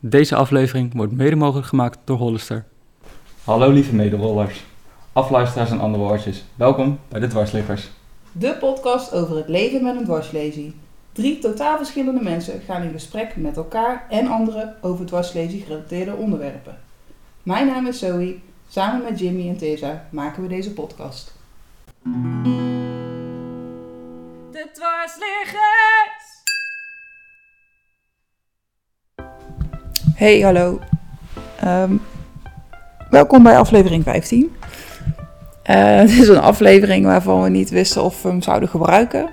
Deze aflevering wordt mede mogelijk gemaakt door Hollister. Hallo lieve mederollers, afluisteraars en andere woordjes. Welkom bij de Dwarsliggers. De podcast over het leven met een dwarslesie. Drie totaal verschillende mensen gaan in gesprek met elkaar en anderen over dwarslesie gerelateerde onderwerpen. Mijn naam is Zoe. Samen met Jimmy en Tessa maken we deze podcast. De dwarsliggers! Hey, hallo. Ehm, welkom bij aflevering 15. Eh, het is een aflevering waarvan we niet wisten of we hem zouden gebruiken.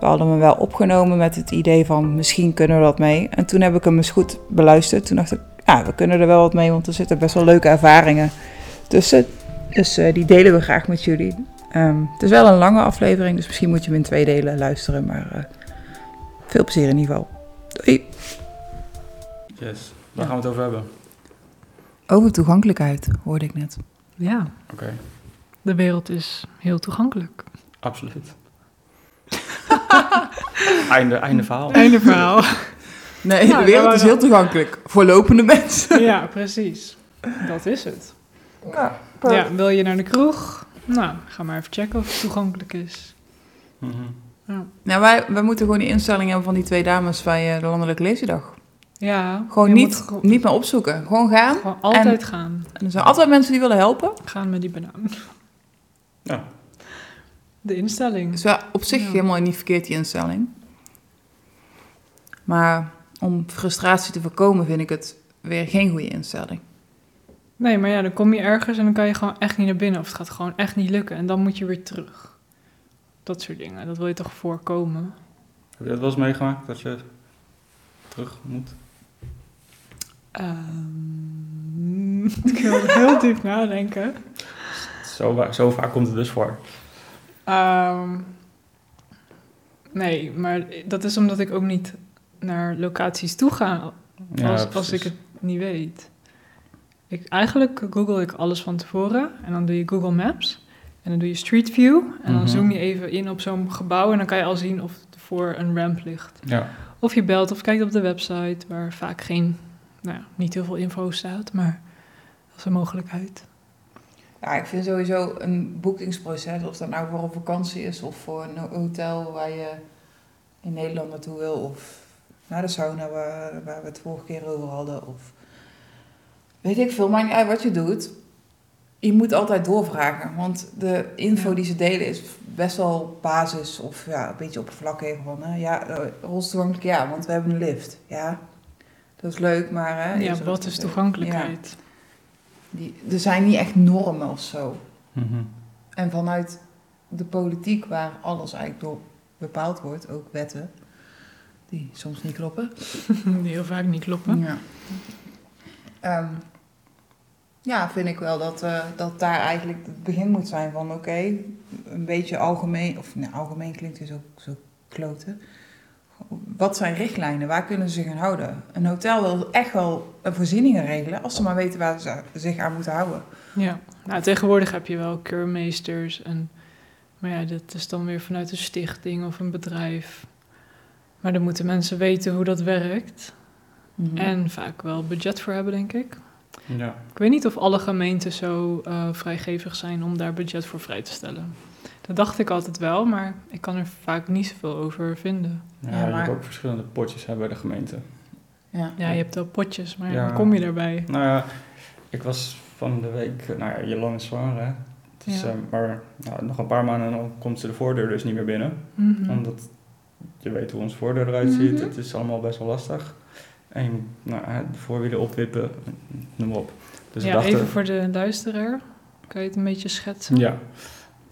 We hadden hem wel opgenomen met het idee van misschien kunnen we dat mee. En toen heb ik hem eens goed beluisterd. Toen dacht ik, ja, we kunnen er wel wat mee, want er zitten best wel leuke ervaringen tussen. Dus eh, die delen we graag met jullie. Ehm, het is wel een lange aflevering, dus misschien moet je hem in twee delen luisteren. Maar eh, veel plezier in ieder geval. Doei! Yes, waar Ja. gaan we het over hebben? Over toegankelijkheid hoorde ik net. Ja, Oké, de wereld is heel toegankelijk. absoluut. einde, einde verhaal. Einde verhaal. Nee, Nou, de wereld daar is waren- heel toegankelijk voor lopende mensen. ja, precies. Dat is het. Ja, Ja, wil je naar de kroeg? Nou, ga maar even checken of het toegankelijk is. Mhm. Nou, wij, wij moeten gewoon die instelling hebben van die twee dames bij eh, de Landelijke Leesdag. Ja. Gewoon je niet, moet gewoon- niet meer opzoeken. Gewoon gaan. Gewoon altijd gaan. En er zijn altijd mensen die willen helpen. Gaan met die banaan. Ja. De instelling. Dus wel op zich Ja. helemaal niet verkeerd, die instelling. Maar om frustratie te voorkomen vind ik het weer geen goede instelling. Nee, maar ja, dan kom je ergens en dan kan je gewoon echt niet naar binnen. Of het gaat gewoon echt niet lukken. En dan moet je weer terug. Dat soort dingen. Dat wil je toch voorkomen? Heb je dat wel eens meegemaakt, dat je terug moet? Ehm, ik wil heel diep nadenken. Zo, wa- zo vaak komt het dus voor. Ehm, nee, maar dat is omdat ik ook niet naar locaties toe ga als, als ik het niet weet. Ik, eigenlijk google ik alles van tevoren en dan doe je Google Maps en dan doe je Street View en Mhm. dan zoom je even in op zo'n gebouw en dan kan je al zien of het voor een ramp ligt. Ja, Of je belt of kijkt op de website waar vaak geen, nou ja, niet heel veel info staat, maar dat is een mogelijkheid. Ja, ik vind sowieso een boekingsproces, of dat nou voor een vakantie is of voor een hotel waar je in Nederland naartoe wil, of naar de sauna waar, waar we het vorige keer over hadden, of weet ik veel, maakt niet uit wat je doet. Je moet altijd doorvragen, want de info Ja. die ze delen is best wel basis of ja, een beetje oppervlakkig. Van, hè? Ja, eh, rolstoeltoegankelijk ja, want we hebben een lift. Ja, dat is leuk, maar... Hè, ja, er- wat is toegankelijkheid? Die, er zijn niet echt normen of zo. Mhm. En vanuit de politiek, waar alles eigenlijk door bepaald wordt, ook wetten, die soms niet kloppen. Die heel vaak niet kloppen. Ja, Ehm, ja vind ik wel dat, eh, dat daar eigenlijk het begin moet zijn van: oké, een beetje algemeen, of nou, algemeen klinkt dus ook zo kloten. Wat zijn richtlijnen? Waar kunnen ze zich aan houden? Een hotel wil echt wel eh, voorzieningen regelen als ze maar weten waar ze zich aan moeten houden. Ja, nou tegenwoordig heb je wel keurmeesters en maar ja, dat is dan weer vanuit een stichting of een bedrijf. Maar dan moeten mensen weten hoe dat werkt Mhm. en vaak wel budget voor hebben, denk ik. ja. Ik weet niet of alle gemeenten zo eh, vrijgevig zijn om daar budget voor vrij te stellen. Dat dacht ik altijd wel, maar ik kan er vaak niet zoveel over vinden. Ja, Ja, je maar- hebt ook verschillende potjes hè, bij de gemeente. ja. Ja, je hebt wel potjes, maar Ja. hoe kom je daarbij? Nou ja, ik was van de week, nou ja, Jolan is zwanger hè. Het is, Ja. eh, maar nou, nog een paar maanden en dan komt ze de voordeur dus niet meer binnen. Mhm. Omdat je weet hoe onze voordeur eruit ziet. Mhm. Het is allemaal best wel lastig. En je moet nou, hè, de voorwielen opwippen, noem maar op. Dus we ja, dachten, even voor de luisteraar. Kan je het een beetje schetsen? Ja.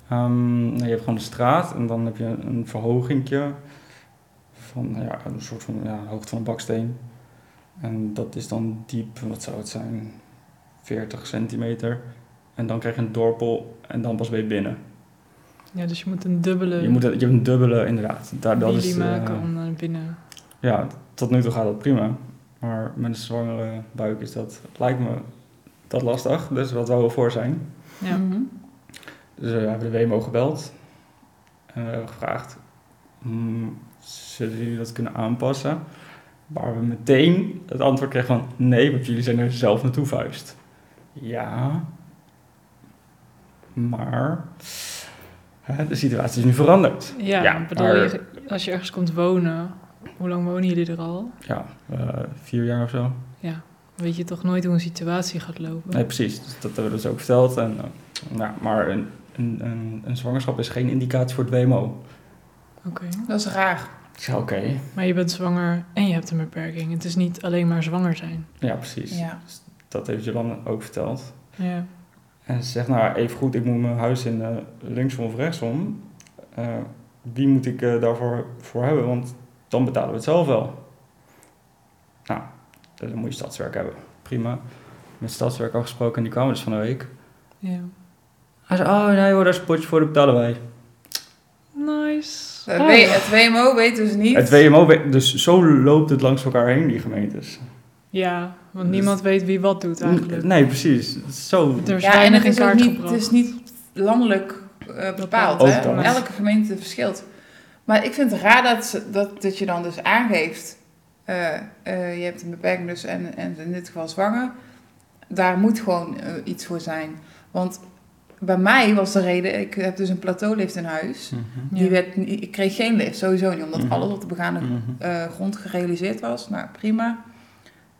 Ehm, nou, je hebt gewoon de straat en dan heb je een, een verhogingje van nou ja, een soort van ja, de hoogte van een baksteen. En dat is dan diep, wat zou het zijn, 40 centimeter. En dan krijg je een dorpel en dan pas ben je binnen. Ja, dus je moet een dubbele... Je, moet, het- je hebt een dubbele, inderdaad. Daar, dat Jullie is, eh, maken om naar binnen. ja, tot nu toe gaat dat prima. Maar met een zwangere buik is dat, lijkt me, dat lastig. Dus wat wou we voor zijn. Ja. Mhm. Dus we hebben de WMO gebeld. Eh, "Hmm, En we hebben gevraagd, mm, zullen jullie dat kunnen aanpassen? Waar we meteen het antwoord kregen van nee, want jullie zijn er zelf naartoe vuist. Ja, maar hè, de situatie is nu veranderd. Ja, Ja, bedoel maar- je, als je ergens komt wonen, hoe lang wonen jullie er al? Ja, eh, vier jaar of zo. Ja, weet je toch nooit hoe een situatie gaat lopen? Nee, precies. Dus dat hebben we dus ook verteld. En, eh, nou, maar een, een, een, een zwangerschap is geen indicatie voor het WMO. Oké. Dat is raar. Ik zei, oké. Maar je bent zwanger en je hebt een beperking. Het is niet alleen maar zwanger zijn. Ja, precies. Dus Ja. Dat heeft Jolanda ook verteld. Ja. En ze zegt, nou even goed, ik moet mijn huis in eh, linksom of rechtsom. Eh, wie moet ik eh, daarvoor voor hebben? Want dan betalen we het zelf wel. Nou, eh, dan moet je stadswerk hebben. Prima. Met stadswerk afgesproken en die kwamen dus van de week. ja. Hij zei, oh nee hoor, daar is een potje voor, dat betalen wij. Nice. Het, Oh. W- het WMO Eh, weet dus niet. Het WMO, we- dus zo loopt het langs elkaar heen, die gemeentes. Ja, want Dus- niemand weet wie wat doet eigenlijk. Nee, precies. Het is Zo. Er is ja, en weinig het in is ook kaart niet, gebracht. het is niet landelijk eh, bepaald. Ook Hè? dat. Elke gemeente verschilt. Maar ik vind het raar dat, ze- dat, dat je dan dus aangeeft... eh, eh, je hebt een beperking dus en, en in dit geval zwanger. Daar moet gewoon eh, iets voor zijn. Want bij mij was de reden... Ik heb dus een plateaulift in huis. Mhm. Ja. Die werd, ni- ik kreeg geen lift, sowieso niet. Omdat Mhm. alles op de begaande Mhm. eh, grond gerealiseerd was. Nou, prima.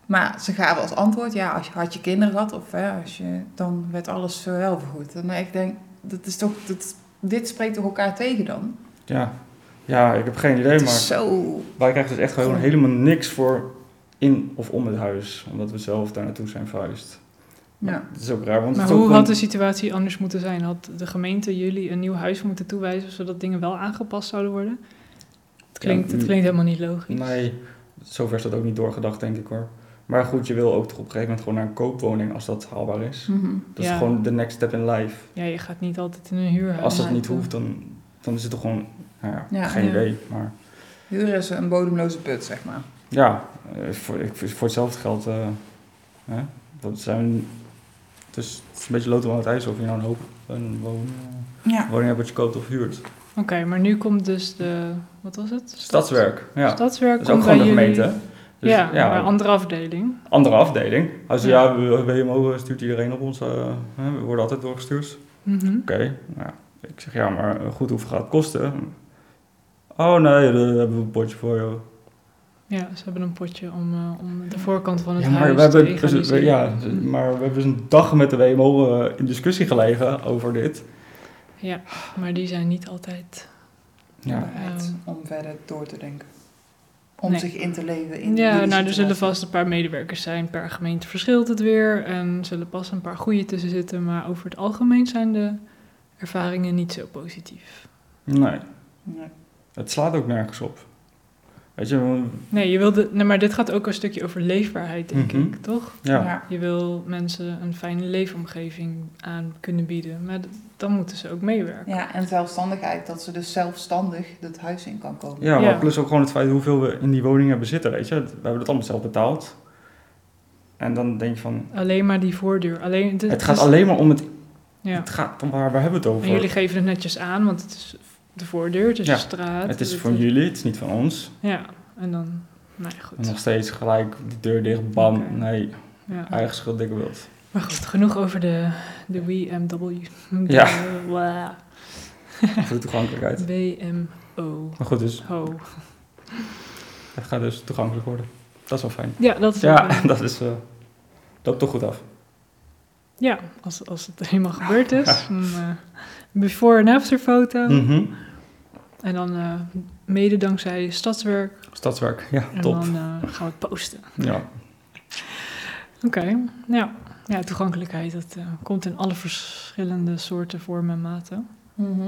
Maar ze gaven als antwoord, ja, als je, had je kinderen gehad, of hè, als je, dan werd alles zo wel vergoed. En ik denk, dat is toch, dat, dit spreekt toch elkaar tegen dan? Ja. ja, ik heb geen idee, Het maar... is zo... Wij krijgen dus echt gewoon Gewoon. helemaal niks voor in of om het huis. Omdat we zelf daar naartoe zijn verhuisd. Ja. Dat is ook raar. Want Maar het is ook hoe gewoon- had de situatie anders moeten zijn? Had de gemeente jullie een nieuw huis moeten toewijzen zodat dingen wel aangepast zouden worden? Het klinkt, het mm. klinkt helemaal niet logisch. Nee, zover is dat ook niet doorgedacht, denk ik hoor. Maar goed, je wil ook toch op een gegeven moment gewoon naar een koopwoning als dat haalbaar is. Mhm. Dat Ja. is gewoon de next step in life. Ja, je gaat niet altijd in een huurhuis. Als dat maar- niet hoeft, dan, dan is het toch gewoon, nou ja, Ja. geen Ja. idee. Maar Huur is een bodemloze put, zeg maar. ja, eh, voor, ik- voor hetzelfde geld, eh hè, dat zijn, dus het is een beetje loten aan het ijs of je nou een hoop een woning, Ja. woning hebt wat je koopt of huurt. Oké, maar nu komt dus de... Wat was het? Stadswerk, ja. Stadswerk Dat is ook komt gewoon de bij gemeente. jullie. hè? Dus, ja, ja, bij een andere afdeling. andere afdeling. Als je, Ja. ja, we- WMO stuurt iedereen op ons. eh, hè, we worden altijd doorgestuurd. Mhm. Oké, nou, ja. ik zeg ja, maar eh, goed, hoeveel gaat het kosten? Oh nee, daar hebben we een potje voor joh. Ja, ze hebben een potje om, eh, om de voorkant van het Ja, maar huis we te hebben, dus, we- legaliseren. ja, maar we hebben dus een dag met de WMO eh, in discussie gelegen over dit. Ja, maar die zijn niet altijd... Ja, Bereid Ja. om verder door te denken. Om Nee. zich in te leven in die Ja, nou, er situatie. zullen vast een paar medewerkers zijn. Per gemeente verschilt het weer. En zullen pas een paar goede tussen zitten. Maar over het algemeen zijn de ervaringen niet zo positief. nee, Nee. het slaat ook nergens op. Weet je, want- Nee, je wilde, nee, maar dit gaat ook een stukje over leefbaarheid, denk Mhm. ik, toch? ja. Je wil mensen een fijne leefomgeving aan kunnen bieden. Maar d- dan moeten ze ook meewerken. Ja, en zelfstandigheid, dat ze dus zelfstandig dat huis in kan komen. Ja, maar Ja. plus ook gewoon het feit hoeveel we in die woning hebben zitten, weet je. We hebben dat allemaal zelf betaald. En dan denk je van, Alleen maar die voordeur. Alleen, het, het gaat is- alleen maar om het... Dus Ja. Het gaat, om waar, waar hebben we het En over? jullie geven het netjes aan, want het is de voordeur, het dus- is Ja, de straat. het is van jullie, het is niet van ons. Ja, en dan... Nou ja, En nog goed. steeds gelijk de deur dicht, bam. Oké. Nee, Ja. eigen schuld, dikke wild. Maar goed, genoeg over de, de WMW. Ja. De- wa- Voor de toegankelijkheid. WMO. Maar goed, dus Ho. het gaat dus toegankelijk worden. Dat is wel fijn. Ja, dat is ook Ja, wel- dat is... eh loopt toch goed af. ja als, als het helemaal gebeurd is. Een eh, before- en after foto. Mhm. En dan eh, mede dankzij stadswerk. Stadswerk, ja, En top. dan eh, gaan we het posten. Ja, Oké, ja. Ja, toegankelijkheid, dat eh, komt in alle verschillende soorten, vormen en maten. Mhm.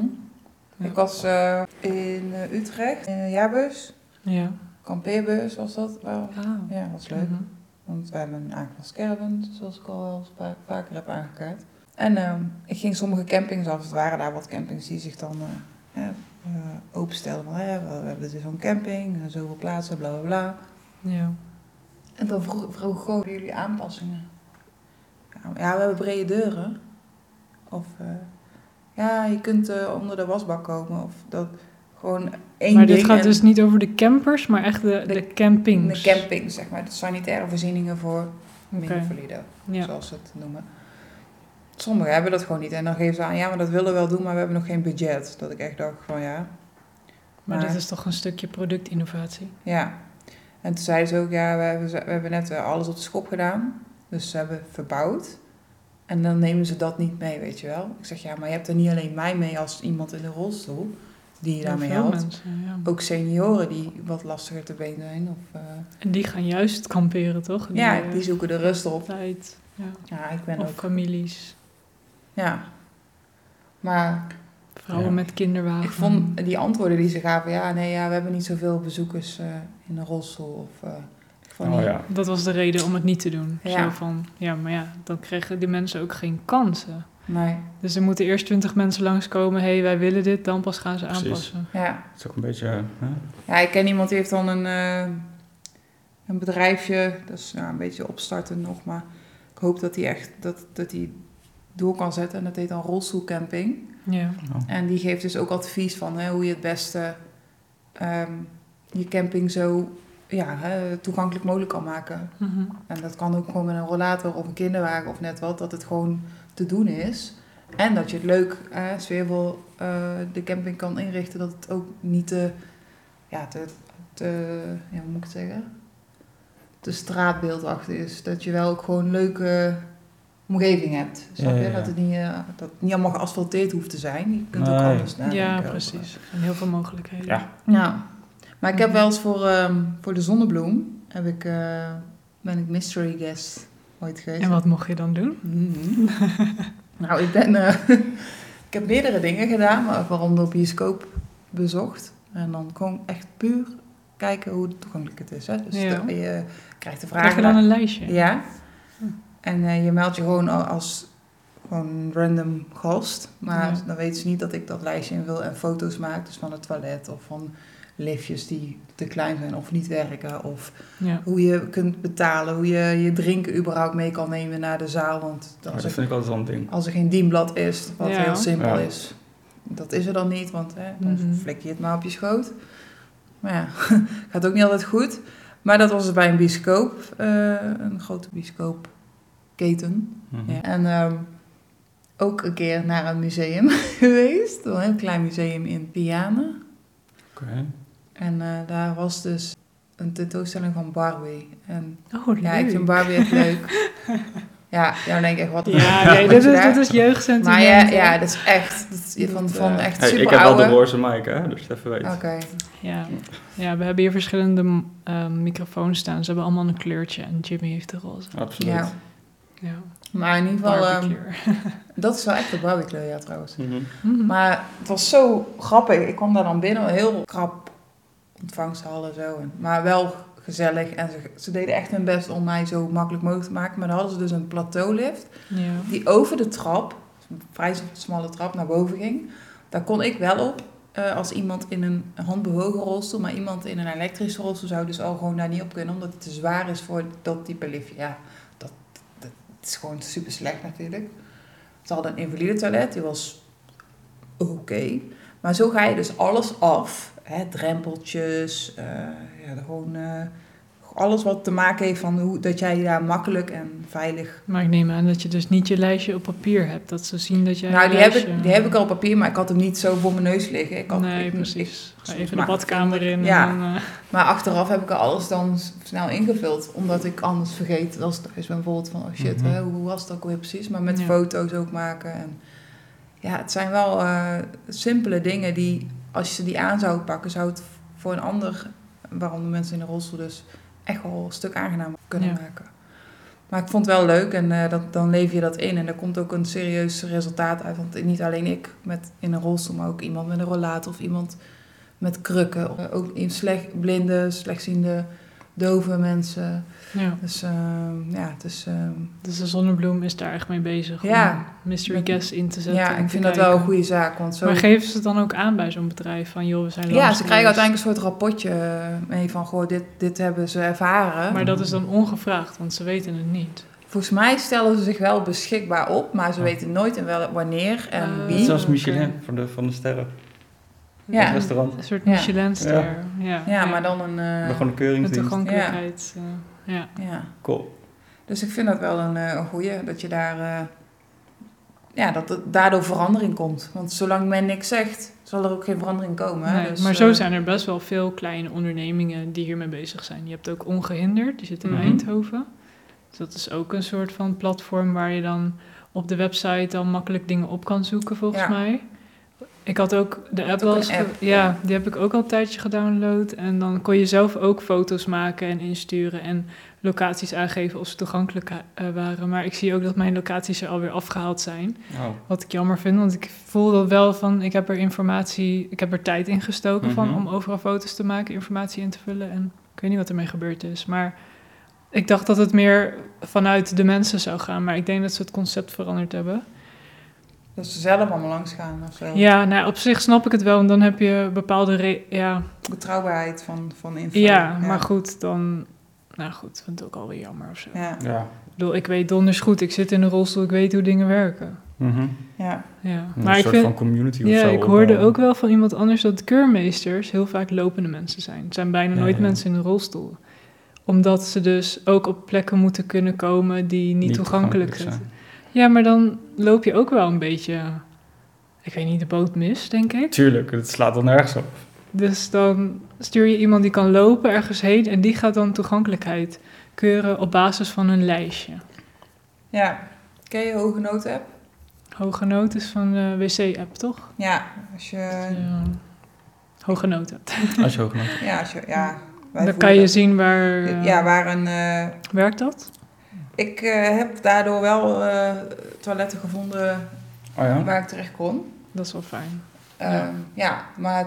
Ja. Ik was eh, in eh, Utrecht, in een jaarbus, Ja. kampeerbus was dat. Wel, Ah. ja, was leuk. Mhm. Want wij hebben een aangepas caravan, zoals ik al wel eens paar, paar keer heb aangekaart. En ehm, ik ging sommige campings af. Het waren daar wat campings die zich dan eh, hè, eh, openstelden. Van, hè, we we hebben dus zo'n camping, eh, zoveel plaatsen, bla bla bla. Ja. En dan vroeg, vroeg ik gewoon "Hebben jullie aanpassingen. Ja, maar ja, we hebben brede deuren. Of eh, ja, je kunt eh, onder de wasbak komen. Of dat, Gewoon één maar ding. dit gaat en dus niet over de campers, maar echt de, De- de, campings. De camping, zeg maar. De sanitaire voorzieningen voor Oké. mindervalido, Ja. zoals ze het noemen. Sommigen hebben dat gewoon niet. En dan geven ze aan, ja, maar dat willen we wel doen, maar we hebben nog geen budget. Dat ik echt dacht van, ja, Maar Maar- dat is toch een stukje productinnovatie. Ja. En toen zeiden ze ook, ja, we hebben, we hebben net eh, alles op de schop gedaan. Dus ze hebben verbouwd. En dan nemen ze dat niet mee, weet je wel. Ik zeg, ja, maar je hebt er niet alleen mij mee als iemand in de rolstoel die je daarmee Heel veel helpt. mensen, ja. Ook senioren die wat lastiger te been zijn. Of, eh, En die gaan juist kamperen, toch? Die, ja, eh, die zoeken de rust op. tijd. Ja. Ja, ik ben Of ook. families. Ja. Maar Vrouwen Ja. met kinderwagen. ik vond die antwoorden die ze gaven, ja, nee, ja, we hebben niet zoveel bezoekers eh, in de rolstoel. Of, eh, ik vond Oh die- ja. Dat was de reden om het niet te doen. Ja. Zo van, ja, maar ja, dan kregen die mensen ook geen kansen. Nee, Dus er moeten eerst twintig mensen langskomen. Hé, hey, wij willen dit. Dan pas gaan ze Precies. aanpassen. ja. Het is ook een beetje... Hè? Ja, ik ken iemand die heeft dan een, eh, een bedrijfje. Dat is nou, een beetje opstarten nog, maar ik hoop dat hij echt dat, dat hij door kan zetten. En dat heet dan rolstoelcamping. Ja. En die geeft dus ook advies van hè, hoe je het beste ehm, je camping zo ja, hè, toegankelijk mogelijk kan maken. Mhm. En dat kan ook gewoon met een rollator of een kinderwagen of net wat, dat het gewoon te doen is. En dat je het leuk, eh, sfeervol eh, de camping kan inrichten, dat het ook niet te, ja, te, te ja, hoe moet ik het zeggen, te straatbeeldachtig is. Dat je wel ook gewoon een leuke omgeving hebt. Snap je? Ja, ja, ja. Dat, het niet, eh, dat het niet allemaal geasfalteerd hoeft te zijn. Je kunt ook Nee. anders nadenken. ja, over. precies. En heel veel mogelijkheden. Ja. Ja, maar ik heb wel eens voor, ehm, voor de zonnebloem heb ik, eh, ben ik mystery guest ooit geweest. En wat mocht je dan doen? Mhm. nou, ik ben, eh, ik heb meerdere dingen gedaan, maar waaronder bioscoop bezocht. En dan gewoon echt puur kijken hoe toegankelijk het is. Hè? Dus Ja. de- je krijgt de vragen. Krijg je dan een lijstje? Ja. Hm. En eh, je meldt je gewoon al- als gewoon random gast. Maar Ja. dan weten ze niet dat ik dat lijstje in wil en foto's maak. Dus van het toilet of van liftjes die te klein zijn of niet werken. Of Ja. hoe je kunt betalen, hoe je je drinken überhaupt mee kan nemen naar de zaal. Want Ja, als, dat er, vind ik altijd wel een ding. als er geen dienblad is, wat Ja. heel simpel Ja. is. Dat is er dan niet, want hè, dan Mhm. flik je het maar op je schoot. Maar ja, gaat ook niet altijd goed. Maar dat was dus bij een bioscoop, eh, een grote bioscoopketen. Mhm. Ja. En ehm, ook een keer naar een museum geweest. Een heel klein museum in Piane. Oké. En eh, daar was dus een tentoonstelling van Barbie. En Oh, leuk. ja, ik vind Barbie echt leuk. ja, ja, dan denk ik echt wat. Ja, wat nee, je dit, is, daar- dit is jeugdsentiment. Maar ja, hè? ja, dat is echt. Dat is van, van echt Hey, super ik heb wel de oude. roze mic, hè? Dus even weten. Oké. Ja. ja, we hebben hier verschillende ehm, microfoons staan. Ze hebben allemaal een kleurtje en Jimmy heeft de roze. Absoluut. Ja. Oh. Ja, Maar in ieder geval, ehm, Barbiekleur. dat is wel echt de Barbie kleur, ja, trouwens. Mhm. Mhm. ehm, Maar het was zo grappig. Ik kwam daar dan binnen, heel krap ontvangsthal en zo. En- Maar wel gezellig. En ze, ze deden echt hun best om mij zo makkelijk mogelijk te maken. Maar dan hadden ze dus een plateaulift ja. die over de trap, een vrij smalle trap, naar boven ging. Daar kon ik wel op. eh, als iemand in een handbewogen rolstoel, maar iemand in een elektrische rolstoel zou dus al gewoon daar niet op kunnen, omdat het te zwaar is voor dat type lift. Ja, dat, dat, dat is gewoon super slecht natuurlijk. Ze hadden een invalide toilet, die was oké. Maar zo ga je dus alles af. Hè, drempeltjes, eh, ja, gewoon eh, alles wat te maken heeft van hoe, dat jij daar makkelijk en veilig Maar ik neem aan dat je dus niet je lijstje op papier hebt. Dat ze zien dat jij nou, een die heb, lijstje- ik, die heb ik al op papier, maar ik had hem niet zo voor mijn neus liggen. Ik had, nee, ik- ik- precies. Ga soms even de maar- badkamer in Ja. en dan... eh, maar achteraf heb ik er alles dan s- snel ingevuld. Omdat ik anders vergeet, als ik thuis ben bijvoorbeeld van... Oh shit, Mhm. hè, hoe was het ook weer precies? Maar met Ja. foto's ook maken. En, ja, het zijn wel eh, simpele dingen die... Als je die aan zou pakken, zou het voor een ander... Waaronder mensen in de rolstoel dus... Echt wel een stuk aangenamer kunnen Ja. maken. Maar ik vond het wel leuk en eh, dat, dan leef je dat in. En daar komt ook een serieus resultaat uit. Want niet alleen ik met, in een rolstoel, maar ook iemand met een rollator of iemand met krukken. Eh, ook in slecht, blinde, slechtziende, dove mensen. ja. Dus ehm, ja, het is, ehm, Dus de zonnebloem is daar echt mee bezig om Ja. mystery Met- guest in te zetten. ja om ik te vind dat kijken. wel een goede zaak. Want zo, Maar geven ze het dan ook aan bij zo'n bedrijf? Van joh, we zijn ja, langs ze krijgen geweest. uiteindelijk een soort rapportje eh, mee van... Goh, dit, dit hebben ze ervaren. Maar dat is dan ongevraagd, want ze weten het niet. Volgens mij stellen ze zich wel beschikbaar op, maar ze Ja. weten nooit en wel wanneer en Ah. Net wie. Zo. zoals Michelin van de, van de sterren. Ja. het restaurant. Een soort Ja. Michelinster. Ja. Ja. Ja, maar dan een... eh, Maar gewoon een keuring Met zien. toegankelijkheid. eh, ja. ja. Cool. Dus ik vind dat wel een, eh, een goeie, dat je daar... eh, ja, dat er daardoor verandering komt. Want zolang men niks zegt, zal er ook geen verandering komen. hè. Nee, Dus, maar zo eh, zijn er best wel veel kleine ondernemingen die hiermee bezig zijn. Je hebt ook Ongehinderd, die zit in Mhm. Eindhoven. Dus dat is ook een soort van platform waar je dan op de website dan makkelijk dingen op kan zoeken, volgens Ja. mij. Ik had ook de app ook wel een eens ge- app, ja. ja, die heb ik ook al een tijdje gedownload. En dan kon je zelf ook foto's maken en insturen en locaties aangeven of ze toegankelijk eh, waren. Maar ik zie ook dat mijn locaties er alweer afgehaald zijn. Oh. Wat ik jammer vind, want ik voel dat wel van... ik heb er informatie, ik heb er tijd in gestoken Mhm. van... om overal foto's te maken, informatie in te vullen. En ik weet niet wat ermee gebeurd is. Maar ik dacht dat het meer vanuit de mensen zou gaan. Maar ik denk dat ze het concept veranderd hebben. Dat ze zelf allemaal langs gaan of zo. Ja, nou, op zich snap ik het wel. Want dan heb je bepaalde... re- ja, Betrouwbaarheid van, van info. ja, maar goed, dan... Nou goed, vind ik ook alweer jammer of zo. Ja, Ja. Ik bedoel, ik weet donders goed. Ik zit in een rolstoel, ik weet hoe dingen werken. Mhm. ja. Ja, Een maar ik soort vind... van community of Ja, zo. ik hoorde opbouwen. ook wel van iemand anders dat keurmeesters heel vaak lopende mensen zijn. Het zijn bijna Ja, nooit ja. mensen in een rolstoel. Omdat ze dus ook op plekken moeten kunnen komen die niet, toegankelijk zijn. Ja, maar dan loop je ook wel een beetje, ik weet niet, de boot mis, denk ik. Tuurlijk, het slaat dan nergens op. Dus dan stuur je iemand die kan lopen ergens heen en die gaat dan toegankelijkheid keuren op basis van een lijstje. ja. Ken je Hoge Nood app? Hoge noten is van de wc-app, toch? Ja, als je... Ja. Hoge noten. Als je hoog genoeg. Ja, als je, ja wij Dan voelen kan je dat. zien waar eh, Ja, waar een... eh, werkt dat. Ik eh, heb daardoor wel eh, toiletten gevonden Oh ja? waar ik terecht kon. Dat is wel fijn. Ehm, Ja. ja. maar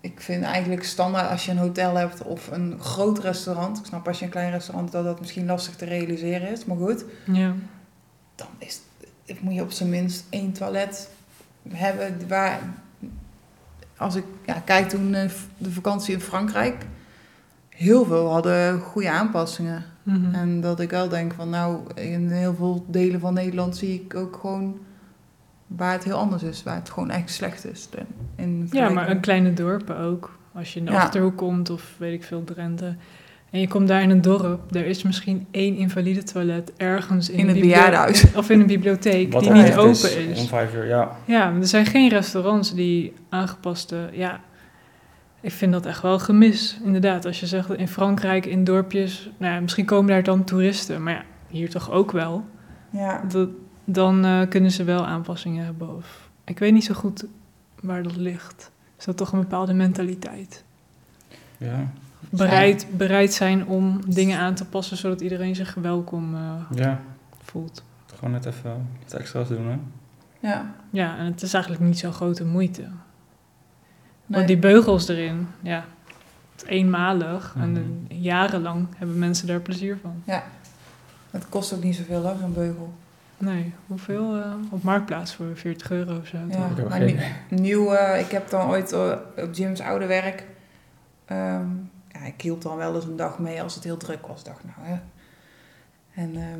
ik vind eigenlijk standaard als je een hotel hebt of een groot restaurant. Ik snap als je een klein restaurant dat dat misschien lastig te realiseren is. Maar goed, Ja. dan is, het- moet je op zijn minst één toilet hebben waar... Als ik ja, kijk toen eh, de vakantie in Frankrijk, heel veel hadden goede aanpassingen. Mhm. En dat ik wel denk van nou, in heel veel delen van Nederland zie ik ook gewoon waar het heel anders is. Waar het gewoon echt slecht is. ten- In ja, maar een vergelijking. kleine dorpen ook. Als je in de Ja. Achterhoek komt of weet ik veel, Drenthe. En je komt daar in een dorp, er is misschien één invalide toilet ergens in, In een het bibli- bejaardenhuis. in- Of in een bibliotheek die niet echt open is. Om vijf uur, ja. Ja, maar er zijn geen restaurants die aangepaste. Ja, ik vind dat echt wel een gemis. Inderdaad, als je zegt in Frankrijk, in dorpjes. Nou ja, misschien komen daar dan toeristen, maar ja, hier toch ook wel. Ja, Dat, dan eh, kunnen ze wel aanpassingen hebben. Of, ik weet niet zo goed waar dat ligt. Is dat toch een bepaalde mentaliteit? Ja. Bereid, bereid zijn om dingen aan te passen zodat iedereen zich welkom eh, Ja. voelt. Gewoon net even wat extra's doen, hè? ja. Ja, en het is eigenlijk niet zo'n grote moeite. Nee. Want die beugels erin, ja, het is eenmalig. En Mhm. eh, jarenlang hebben mensen daar plezier van. Het kost ook niet zoveel hoor, zo'n beugel. Nee, hoeveel? eh, op Marktplaats voor 40 euro of zo. Ja, Ik heb maar geen nu- nieuw, eh, ik heb dan ooit eh, op Jim's oude werk. ehm, ja, ik hield dan wel eens een dag mee als het heel druk was, dacht nou hè. En ehm,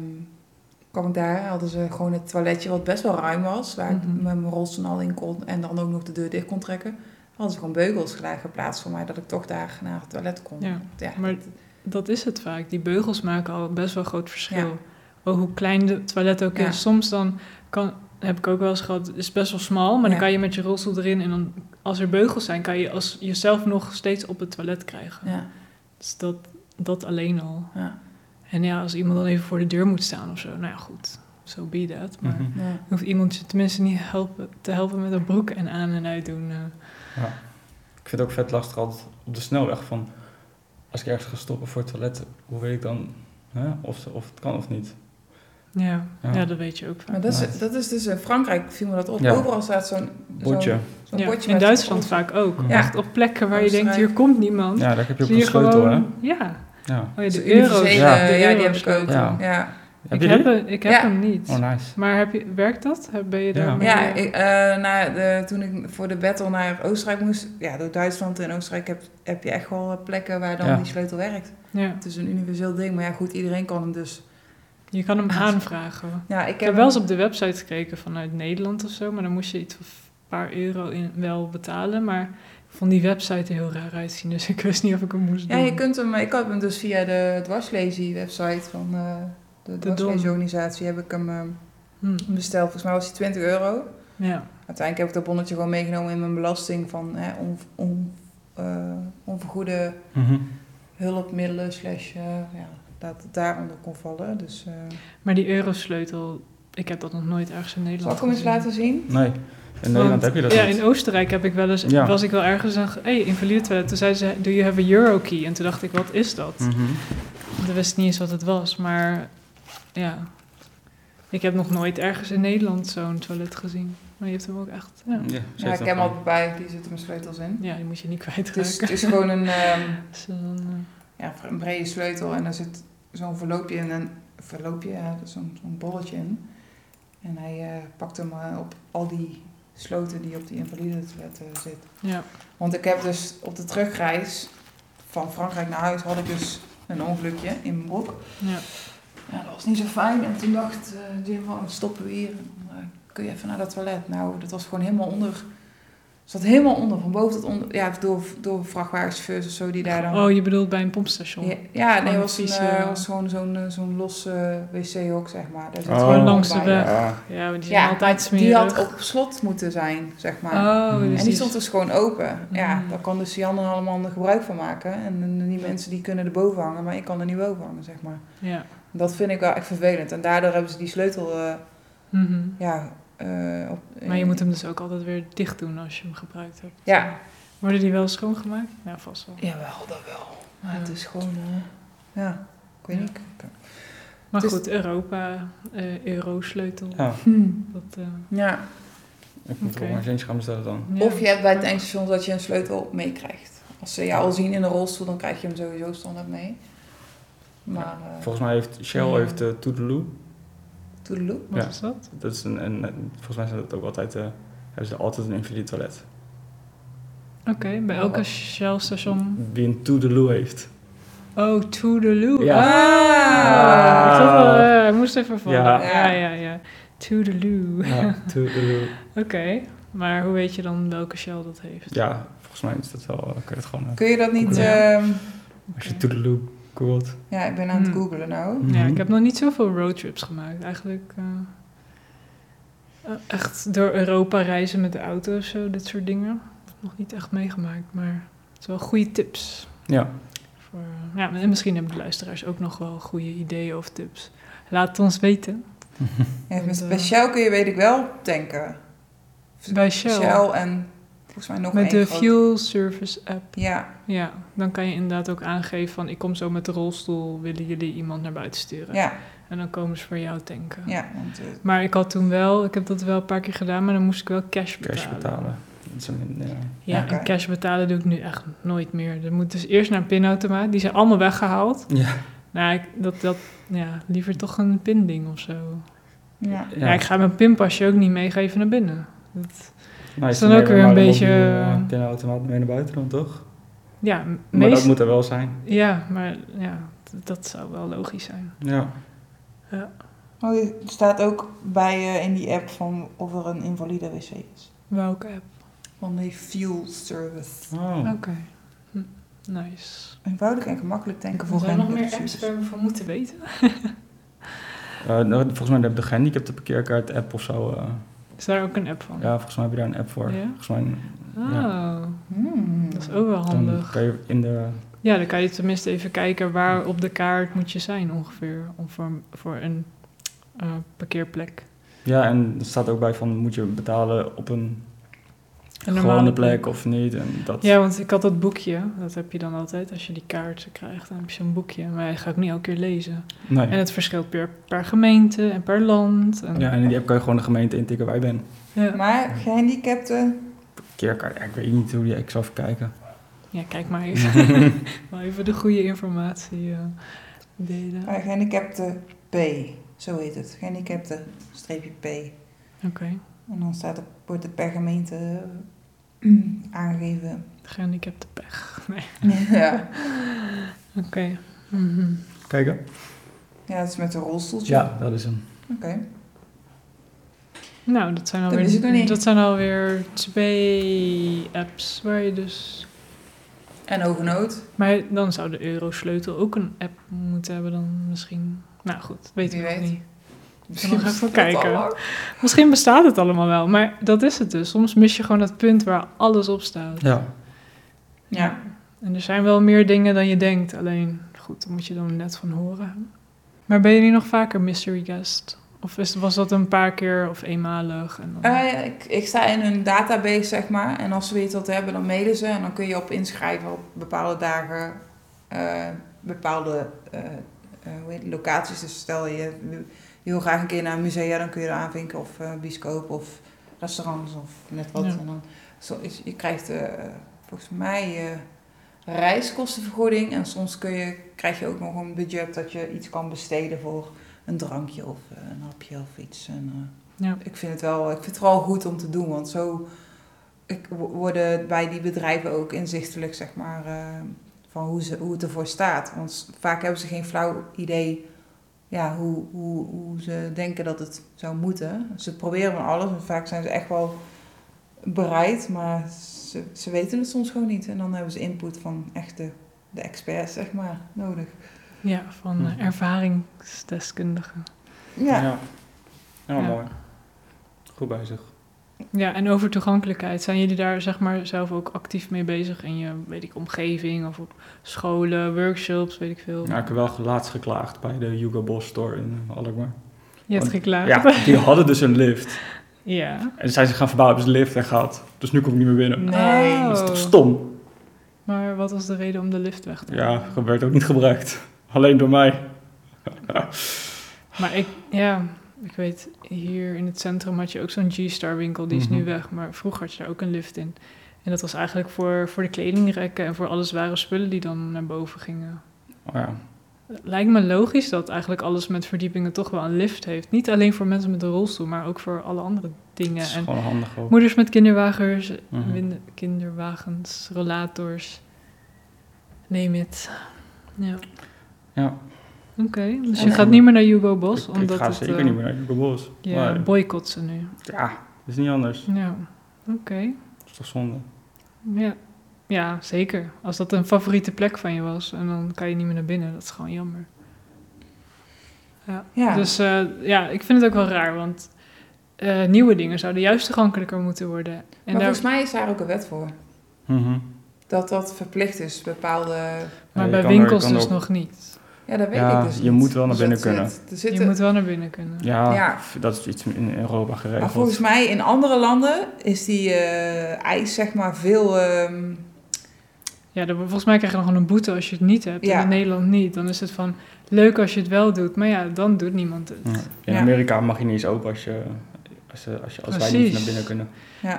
kwam ik daar, hadden ze gewoon het toiletje wat best wel ruim was, waar ik Mhm. met mijn rolstoel al in kon en dan ook nog de deur dicht kon trekken. Hadden ze gewoon beugels gela- geplaatst voor mij, dat ik toch daar naar het toilet kon. Ja, maar... maar- Dat is het vaak. Die beugels maken al best wel een groot verschil. Ja. Oh, hoe klein de toilet ook Ja. is. Soms dan kan, heb ik ook wel eens gehad, het is best wel smal, maar dan Ja. kan je met je rolstoel erin en dan als er beugels zijn, kan je als jezelf nog steeds op het toilet krijgen. ja, Dus dat, dat alleen al. ja, En ja, als iemand dan even voor de deur moet staan of zo, nou ja, goed, zo be dat. Maar Mhm. ja. hoeft iemand je tenminste niet helpen, te helpen met een broek en aan en uit doen. eh. Ik vind het ook vet lastig altijd op de snelweg van... Als ik ergens ga stoppen voor het toilet, hoe weet ik dan hè, of, ze- of het kan of niet? ja. Ja. Ja. dat weet je ook vaak. Maar dat is, dat is dus in Frankrijk viel me dat op. Ja. Overal staat zo'n Bordje. zo'n- zo'n Ja, bordje in met- Duitsland vaak ook. Ja. Echt op plekken waar je denkt, Oostenrijk. hier komt niemand. Ja, daar heb je ook Zie een je sleutel, hè? gewoon, ja. Ja. Oh ja, de Zo'n euro's. Dus universele, Ja. ja, de die heb ik ook. eurosleutel. Ja. Ja. Heb Ik je heb, die? hem- ik heb Ja. hem niet. Oh, nice. Maar heb je, werkt dat? Heb- Ben je Ja. daarmee... Ja, ik, eh, na de, toen ik voor de battle naar Oostenrijk moest, ja, door Duitsland en Oostenrijk heb, heb je echt wel eh, plekken waar dan Ja. die sleutel werkt. Ja. Het is een universeel ding, maar ja, goed, iedereen kan hem dus. Je kan hem aanvragen. Ja, ik Ik heb heb wel eens op de website gekeken vanuit Nederland of zo, maar dan moest je iets van paar euro in wel betalen. Maar ik vond die website er heel raar uitzien. Dus ik wist niet of ik hem moest Ja, doen. je kunt hem, ik heb hem dus via de dwarslesie-website van eh, de De dwarsleesorganisatie heb ik hem eh, Hm, besteld. Volgens mij was hij 20 euro. ja. Uiteindelijk heb ik dat bonnetje gewoon meegenomen in mijn belasting van hè, on, on, eh, onvergoede Mhm. hulpmiddelen slash eh, ja, dat het daaronder kon vallen. Dus eh Maar die eurosleutel, ik heb dat nog nooit ergens in Nederland zal ik hem eens gezien. laten zien? Nee, in Nederland heb je dat Ja, niet. in Oostenrijk heb ik wel eens, Ja. was ik wel ergens en dacht, hey, invalide toilet. Toen zei ze, do you have a euro key? En toen dacht ik, wat is dat? Mhm. Ik wist niet eens wat het was, maar ja. Ik heb nog nooit ergens in Nederland zo'n toilet gezien. Maar je hebt hem ook echt, ja. Ja, ze Ja, ik heeft heb een hem paar. al bij, die zitten mijn sleutels in. Ja, die moet je niet Het is, kwijtraken. het is gewoon een, ehm, Dus dan, eh, ja, een brede sleutel en daar zit zo'n verloopje in en verloopje, ja, dus zo'n zo'n bolletje in. En hij eh, pakt hem eh, op al die sloten die op die invalide toilet zitten. ja. Want ik heb dus op de terugreis van Frankrijk naar huis had ik dus een ongelukje in mijn broek. ja. Ja, dat was niet zo fijn. En toen dacht eh, Jim van, stoppen we hier. En, eh, kun je even naar dat toilet? Nou, dat was gewoon helemaal onder. Zat helemaal onder, van boven tot onder. Ja, door, door vrachtwagenchauffeurs of zo die daar dan... Oh, je bedoelt bij een pompstation? Ja, ja, nee, Gewoon was, een, vies, eh, eh, was gewoon zo'n eh, zo'n los eh, wc-hok, zeg maar. Daar zit Oh. gewoon Langs de bij. weg. Ja. Ja, want die zijn Ja, altijd maar die smerig. had op slot moeten zijn, zeg maar. Oh, En dus En die die- stond dus gewoon open. Ja, Mm. daar kan dus die anderen allemaal er gebruik van maken. En eh, die mensen die kunnen er boven hangen, maar ik kan er niet boven hangen, zeg maar. Ja. Dat vind ik wel echt vervelend. En daardoor hebben ze die sleutel, eh, Mhm. ja... eh, op, Maar je moet hem dus ook altijd weer dicht doen als je hem gebruikt hebt. Ja. Worden die wel schoongemaakt? Nou, vast wel. Jawel, dat wel. Maar Ja. het is gewoon... eh, ja, ik weet Ja. niet. Maar Dus- goed, Europa, eh eurosleutel. Ja, Dat, eh, Ja. ik moet Oké. er ook maar eens eens gaan bestellen dan. ja. Of je hebt bij het eindstation dat je een sleutel meekrijgt. Als ze jou al zien in een rolstoel, dan krijg je hem sowieso standaard mee. Maar, eh Volgens mij heeft Shell Ja. heeft eh Toedeloe. toedeloe. Wat ja. is dat? Dat is een, een- een- volgens mij zijn dat ook altijd, eh, hebben ze altijd een invalide toilet. Oké, bij Oh, elke wat- Shell station. Wie een Toedeloe heeft. Oh, to the loo. Ja. Ah, Ah. ik zat al, eh, ik moest even vallen. Ja, Ja. ja, ja. To the loo. Oké, Ja, Toedeloe. maar hoe weet je dan welke Shell dat heeft? Ja, volgens mij is dat wel, eh, kun je het gewoon, eh, Kun je dat niet... Ja. ehm, als je Toedeloe googelt. ja, ik ben aan het Hmm. googelen nou. Ja, Mhm. ik heb nog niet zoveel roadtrips gemaakt. Eigenlijk eh, eh, echt door Europa reizen met de auto of zo, dit soort dingen. Nog niet echt meegemaakt, maar het is wel goede tips. Ja. Voor, eh, ja, en misschien hebben de luisteraars ook nog wel goede ideeën of tips. Laat het ons weten. Ja, Want, met eh, speciaal kun je, weet ik wel, tanken. Bij Shell. Shell en volgens mij nog met één de groot- Fuel Service app. Ja, Ja, dan kan je inderdaad ook aangeven van... ik kom zo met de rolstoel, willen jullie iemand naar buiten sturen? ja, En dan komen ze voor jou tanken. ja. Want, eh, Maar ik had toen wel, ik heb dat wel een paar keer gedaan... maar dan moest ik wel cash betalen. Cash betalen. Dat is een, ja. Ja, Oké. en cash betalen doe ik nu echt nooit meer. Er moet dus eerst naar een pinautomaat. Die zijn allemaal weggehaald. Ja. Nou, ik, dat, dat, ja, liever toch een pinding of zo. ja. Ja. ik ga mijn pinpasje ook niet meegeven naar binnen. Nou, is ze dan ook nemen weer een maar de beetje- mobiele, eh, pinautomaat mee naar buiten dan, toch? Ja, m- Maar dat meest... moet er wel zijn. Ja, maar ja, d- dat zou wel logisch zijn. Ja. Oh, er staat ook bij eh, in die app van of er een invalide wc is. Welke app? Van die fuel service. Oh. Oké. Hm, Nice. Eenvoudig en gemakkelijk tanken voor Er zijn nog geen meer apps service. waar we van moeten weten. Eh, nou, volgens mij heb je de gehandicapte parkeerkaart app of zo. eh. Is daar ook een app van? ja, volgens mij heb je daar een app voor. Ja? Volgens mij Oh, Hmm. dat is ook wel dan handig. kan je in de... Ja, dan kan je tenminste even kijken waar op de kaart moet je zijn ongeveer om voor, voor een eh, parkeerplek. Ja, en er staat ook bij van moet je betalen op een Een gewone plek of niet. En dat, Ja, want ik had dat boekje. Dat heb je dan altijd als je die kaarten krijgt. Dan heb je zo'n boekje. Maar je gaat ook niet elke keer lezen. nee. En het verschilt per, per gemeente en per land. En, ja, en in die app kan je gewoon de gemeente intikken waar je bent. ja. Maar gehandicapten, Parkeerkaart, ja, ik weet niet hoe die ik zou even kijken. Ja, kijk maar even. Wel even de goede informatie eh, delen. Oké. eh, gehandicapten P, zo heet het. Gehandicapten streepje P. En dan staat er, wordt het per gemeente eh, aangegeven. Gehandicapte pech. Nee. ja. Oké. Mhm. Kijken? ja, dat is met een rolstoeltje. Ja, dat is hem. Oké. Nou, dat zijn, wist ik nog niet. alweer, dat zijn alweer twee apps waar je dus... En hoge nood. Maar dan zou de eurosleutel ook een app moeten hebben dan misschien. Nou goed, weet Wie ik nog weet. niet. nog even kijken. Misschien bestaat het allemaal wel, maar dat is het dus. Soms mis je gewoon dat punt waar alles op staat. Ja, Ja. En er zijn wel meer dingen dan je denkt. Alleen, goed, daar moet je dan net van horen. Maar ben je nu nog vaker mystery guest? Of is, was dat een paar keer of eenmalig? En dan... Eh, ja, ik, ik sta in hun database, zeg maar. En als ze weer iets wilt hebben, dan mailen ze. En dan kun je op inschrijven op bepaalde dagen, eh, bepaalde eh, eh, hoe heet het, locaties. Dus stel je wil- je wil graag een keer naar een musea, dan kun je er aanvinken. Of eh bioscoop, of restaurants, of net wat. Ja. En dan, zo, is- je krijgt eh, volgens mij eh, reiskostenvergoeding. En soms kun je, krijg je ook nog een budget dat je iets kan besteden voor een drankje of eh, een hapje of iets. En, eh, ja. ik vind het wel, ik vind het wel goed om te doen, want zo ik, wo- worden bij die bedrijven ook inzichtelijk, zeg maar, eh, van hoe, ze, hoe het ervoor staat. Want s- vaak hebben ze geen flauw idee ja, hoe, hoe, hoe ze denken dat het zou moeten. Ze proberen van alles en vaak zijn ze echt wel bereid, maar ze, ze weten het soms gewoon niet. En dan hebben ze input van echte de experts, zeg maar, nodig. ja, van eh, Mhm. ervaringsdeskundigen. ja. Ja, ja. Ja. mooi. Goed bezig. Ja, en over toegankelijkheid. Zijn jullie daar zeg maar zelf ook actief mee bezig in je, weet ik, omgeving of op scholen, workshops, weet ik veel? Ja, ik heb wel laatst geklaagd bij de Hugo Boss store in eh, Alkmaar. Je hebt geklaagd. Ja, die hadden dus een lift. Ja. En zijn ze gaan verbouwen, hebben ze de lift weggehaald. Dus nu kom ik niet meer binnen. Nee, Oh. Dat is toch stom? Maar wat was de reden om de lift weg te halen? Ja, werd ook niet gebruikt. Alleen door mij. Maar ik, ja, ik weet, hier in het centrum had je ook zo'n G-Star winkel, die is nu Mhm. weg. Maar vroeger had je daar ook een lift in. En dat was eigenlijk voor, voor de kledingrekken en voor alle zware spullen die dan naar boven gingen. Oh ja. Het Lijkt me logisch dat eigenlijk alles met verdiepingen toch wel een lift heeft. Niet alleen voor mensen met een rolstoel, maar ook voor alle andere Het dingen. is En gewoon handig ook. moeders met kinderwagens, Mhm. win- kinderwagens, relators, neem het. Ja. Ja. Oké, dus Ja, je nee. gaat niet meer naar Hugo Boss, Ik, ik omdat ga het... zeker eh, niet meer naar Hugo Boss. Je Maar boycott ze nu. ja, dat is niet anders. Ja, oké. Dat is toch zonde? Ja. ja, zeker. Als dat een favoriete plek van je was en dan kan je niet meer naar binnen, dat is gewoon jammer. ja. Dus eh, ja, ik vind het ook wel raar, want eh, nieuwe dingen zouden juist toegankelijker moeten worden. En maar daar- volgens mij is daar ook een wet voor. Mhm. Dat dat verplicht is, bepaalde... Ja, maar je bij kan er- je winkels kan er dus ook- nog niet. Ja, dat weet Ja, ik dus je niet. moet wel naar Dus dat binnen kunnen. zit- er Je zitten, moet wel naar binnen kunnen. Ja, Ja. dat is iets in Europa maar geregeld. volgens mij in andere landen is die eh, eis zeg maar veel... ehm, Ja, dan, volgens mij krijg je dan gewoon een boete als je het niet hebt. Ja. En in Nederland niet. Dan is het van leuk als je het wel doet, maar ja, dan doet niemand het. Ja. In Ja. Amerika mag je niet eens open als, je, als, je- als, je- als wij niet Precies. naar binnen kunnen.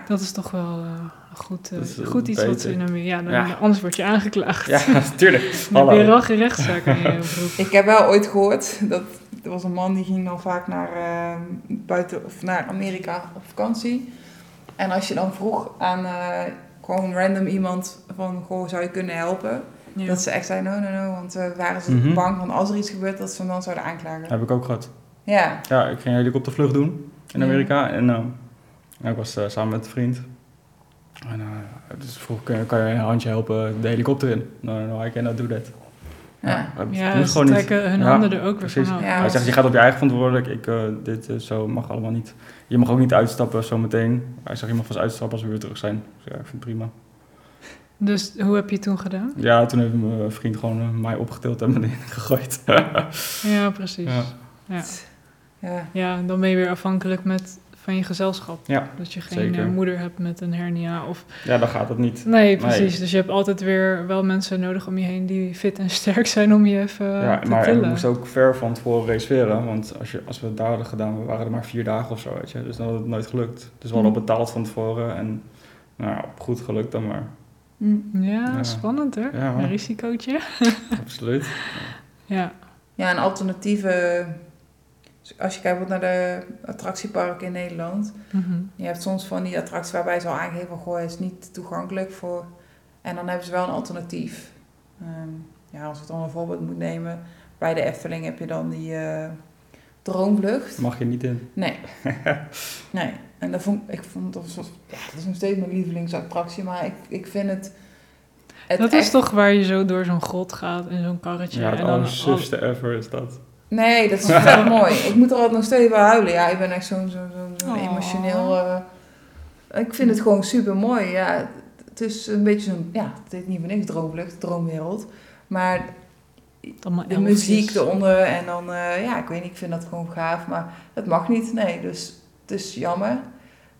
Dat is toch wel eh, goed, eh, Dat is, eh, goed iets wat ze in beter. Amerika... Ja, dan- Ja. anders word je aangeklaagd. Ja, tuurlijk. Dan heb je Hallo. wel geen rechtszaak aan je broek. ik heb wel ooit gehoord dat... Er was een man die ging dan vaak naar, ehm, buiten, of naar Amerika op vakantie. En als je dan vroeg aan eh, gewoon random iemand van... Goh, zou je kunnen helpen? Ja. Dat ze echt zei, no, no, no. Want eh, waren ze Mhm. bang van als er iets gebeurt, dat ze hem dan zouden aanklagen. Heb ik ook gehad. Ja. Ja, ik ging een helikoptervlucht doen in Ja. Amerika. En eh, ik was eh, samen met een vriend. En eh, dus vroeg, kan je, kan je een handje helpen de helikopter in? No, no, no, I cannot do that. Ja. dat Ja, moet ze gewoon niet. trekken hun Ja, handen er ook weer precies. van af. Ja. Hij zegt, je gaat op je eigen verantwoordelijk. Ik, eh, dit eh, zo mag allemaal niet. Je mag ook niet uitstappen zometeen. Hij zegt, je mag pas uitstappen als we weer terug zijn. Dus ja, ik vind het prima. Dus hoe heb je het toen gedaan? Ja, toen heeft mijn vriend gewoon eh, mij opgetild en me erin gegooid. Ja, precies. Ja. Ja. Ja. Ja. dan ben je weer afhankelijk met, van je gezelschap. Ja, Dat je geen zeker. eh, moeder hebt met een hernia. Of... ja, dan gaat het niet. Nee, precies. Dus je hebt altijd weer wel mensen nodig om je heen die fit en sterk zijn om je even ja, Eh, te maar we tillen. moesten ook ver van tevoren reserveren. Want als, je, als we het daar hadden gedaan, we waren er maar vier dagen of zo. Weet je? Dus dan had het nooit gelukt. Dus we hadden Hm. al betaald van tevoren. En nou, ja, goed gelukt dan maar. Ja, Ja. spannend hè? Ja, Een risicootje. absoluut. Ja, Ja, een alternatieve. Als je kijkt naar de attractieparken in Nederland. mhm. Je hebt soms van die attracties waarbij ze al aangeven: van, goh, het is niet toegankelijk voor. En dan hebben ze wel een alternatief. Ehm, ja, als ik dan een voorbeeld moet nemen. Bij de Efteling heb je dan die. eh, droomvlucht. Mag je niet in. Nee. nee. En dat vond ik vond dat was, ja, dat is nog steeds mijn lievelingsattractie, maar ik, ik vind het. het dat echt- is toch waar je zo door zo'n grot gaat in zo'n karretje. Ja, het en dan allersufste ever is dat. Nee, dat is wel mooi. Ik moet er altijd nog steeds bij huilen. Ja, ik ben echt zo'n zo'n zo'n zo'n Aw. emotioneel. eh, ik vind het gewoon super mooi. Ja, het- het is een beetje zo'n. Ja, het heet niet van niks droomlucht, droomwereld. Maar al- allemaal de elfjes. muziek eronder en dan, eh, ja, ik weet niet, ik vind dat gewoon gaaf, maar dat mag niet, nee, dus het is jammer.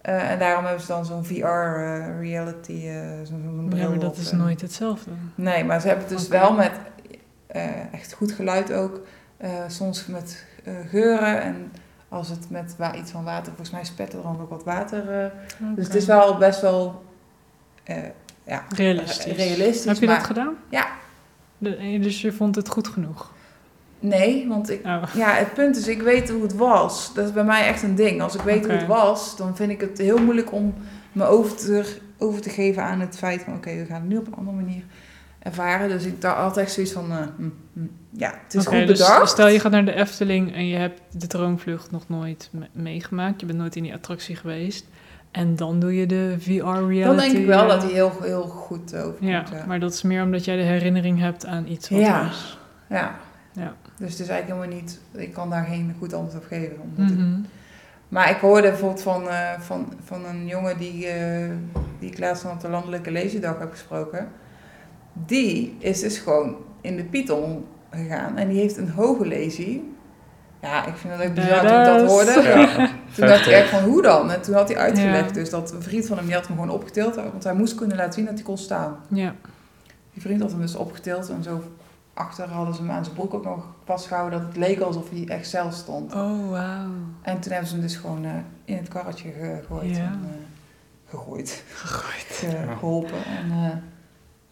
Eh, en daarom hebben ze dan zo'n VR-reality, eh, zo'n zo'n bril. Ja, maar op, dat is eh. nooit hetzelfde. Nee, maar ze hebben het dus Oké. wel met eh, echt goed geluid ook, eh, soms met eh, geuren en als het met wa- iets van water, volgens mij spet er dan ook wat water. eh. Dus het is wel best wel eh, ja, Realistisch. realistisch, Heb je maar dat gedaan? Ja. De- dus je vond het goed genoeg? nee, want ik Oh. Ja, het punt is, ik weet hoe het was. Dat is bij mij echt een ding. Als ik weet hoe het Oké. was, dan vind ik het heel moeilijk om me over te, over te geven aan het feit van... oké, we gaan het nu op een andere manier ervaren. Dus ik dacht altijd zoiets van... eh, hm, hm. ja, het is Oké, goed dus bedacht. Stel je gaat naar de Efteling en je hebt de droomvlucht nog nooit me- meegemaakt. Je bent nooit in die attractie geweest. En dan doe je de VR-reality. dan denk ik wel dat hij heel, heel goed overkomt. Ja, Ja. maar dat is meer omdat jij de herinnering hebt aan iets wat Ja. was. Ja. Ja. Dus het is eigenlijk helemaal niet... Ik kan daar geen goed antwoord op geven. Omdat ik Mhm. Maar ik hoorde bijvoorbeeld van, eh, van, van een jongen die, eh, die ik laatst op de Landelijke Lezendag heb gesproken. Die is dus gewoon in de Python gegaan en die heeft een hoge lesie. Ja, ik vind dat ook bizar toen ik dat Badass. hoorde. Ja, Toen dacht ik echt van hoe dan? En toen had hij uitgelegd Ja. dus dat een vriend van hem, die had hem gewoon opgetild. Want hij moest kunnen laten zien dat hij kon staan. Ja, Die vriend had hem dus opgetild en zo achter hadden ze hem aan zijn broek ook nog vastgehouden. Dat het leek alsof hij echt zelf stond. oh wauw. En toen hebben ze hem dus gewoon eh, in het karretje ge- gegooid. Ja. En, eh, gegooid. Gegooid. geholpen. En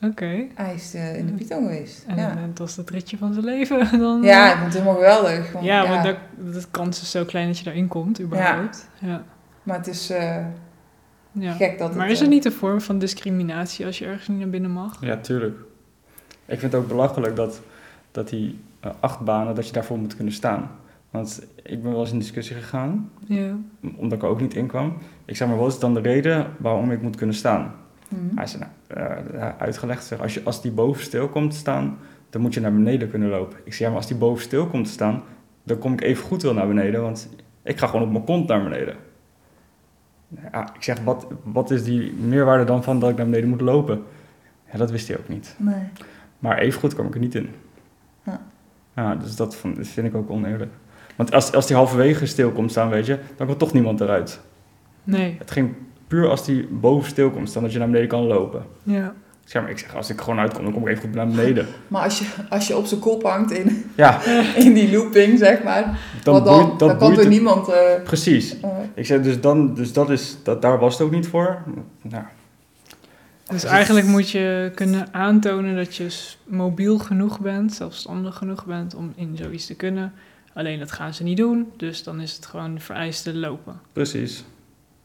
eh, Oké. hij is eh, in de Python geweest. En ja. het was het ritje van zijn leven. Dan, eh, ja, ik vond het helemaal geweldig. want, ja, want dat, dat kans is zo klein dat je daarin komt, überhaupt. Ja. Maar het is eh, ja. gek dat Maar het... is eh, het niet een vorm van discriminatie als je ergens niet naar binnen mag? Ja, tuurlijk. Ik vind het ook belachelijk dat, dat die eh, achtbanen, dat je daarvoor moet kunnen staan. Want ik ben wel eens in discussie gegaan, Ja. omdat ik er ook niet in kwam. Ik zei, maar wat is dan de reden waarom ik moet kunnen staan? hm. Hij zei, nou, eh, uitgelegd, zeg, als, je, als die boven stil komt te staan, dan moet je naar beneden kunnen lopen. Ik zei, ja, maar als die boven stil komt te staan, dan kom ik even goed wel naar beneden, want ik ga gewoon op mijn kont naar beneden. Ja, ik zeg, wat, wat is die meerwaarde dan van dat ik naar beneden moet lopen? Ja, dat wist hij ook niet. Nee. Maar evengoed kwam ik er niet in. Ja. Ja, dus dat, van- dat vind ik ook oneerlijk. Want als, als die halverwege stil komt staan, weet je, dan komt toch niemand eruit. Nee. Het ging puur als die boven stil komt staan, dat je naar beneden kan lopen. Ja. Ik zeg maar, ik zeg, als ik gewoon uitkom, dan kom ik even goed naar beneden. Maar als je, als je op zijn kop hangt in, Ja, in die looping, zeg maar. dan, wat dan? boeit- dan dat kan boeit toch het- niemand... eh, eh, Precies. Ik zeg, dus, dan, dus dat is, dat, daar was het ook niet voor. Nou, Dus eigenlijk moet je kunnen aantonen dat je s- mobiel genoeg bent, zelfstandig genoeg bent om in zoiets te kunnen. Alleen dat gaan ze niet doen, dus dan is het gewoon vereiste lopen. precies.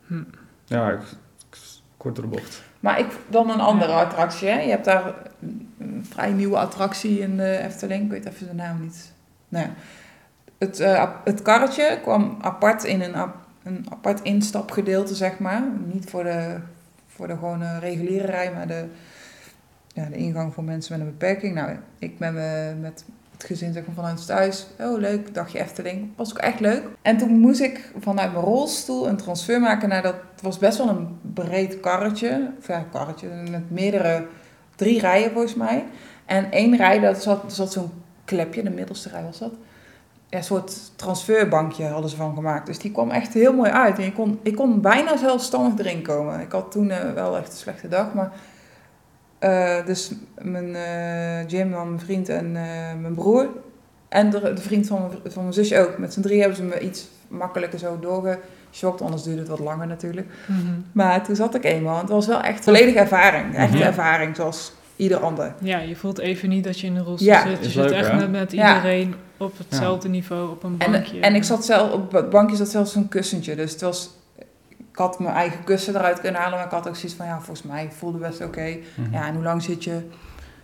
Hm. Ja, ik, ik, kort door de bocht. Maar ik, dan een andere Ja. attractie. Hè? Je hebt daar een, een vrij nieuwe attractie in de Efteling. Ik weet even de naam niet. Nou, ja. het, eh, ap- het karretje kwam apart in een, ap- een apart instapgedeelte, zeg maar. Niet voor de, voor de gewone reguliere rij, maar de, ja, de ingang voor mensen met een beperking. Nou, ik ben me- met het gezin zeg maar, vanuit ons thuis. Oh, leuk, dagje Efteling. Was ook echt leuk. En toen moest ik vanuit mijn rolstoel een transfer maken naar dat... Het was best wel een breed karretje. Of ja, karretje met meerdere... Drie rijen volgens mij. En één rij, dat zat, zat zo'n klepje. De middelste rij was dat. Ja, een soort transferbankje hadden ze van gemaakt. Dus die kwam echt heel mooi uit. En ik kon, ik kon bijna zelfstandig erin komen. Ik had toen eh, wel echt een slechte dag, maar... eh, dus mijn eh, Jim, man, mijn vriend en eh, mijn broer. En de, de vriend van mijn, van mijn zusje ook. Met z'n drie hebben ze me iets makkelijker zo doorgeschokt. Anders duurde het wat langer natuurlijk. Maar toen zat ik eenmaal. en Het was wel echt volledige ervaring. Echte Mhm. ervaring, zoals ieder ander. Ja, je voelt even niet dat je in een rolstoel Ja. zit. Je Is zit leuk, echt hè? met, met Ja. iedereen op hetzelfde niveau op een En, eh, bankje. en ik zat zelf, op het bankje zat zelfs een kussentje. Dus het was, ik had mijn eigen kussen eruit kunnen halen. Maar ik had ook zoiets van, ja, volgens mij voelde best oké. Mhm. Ja, en hoe lang zit je?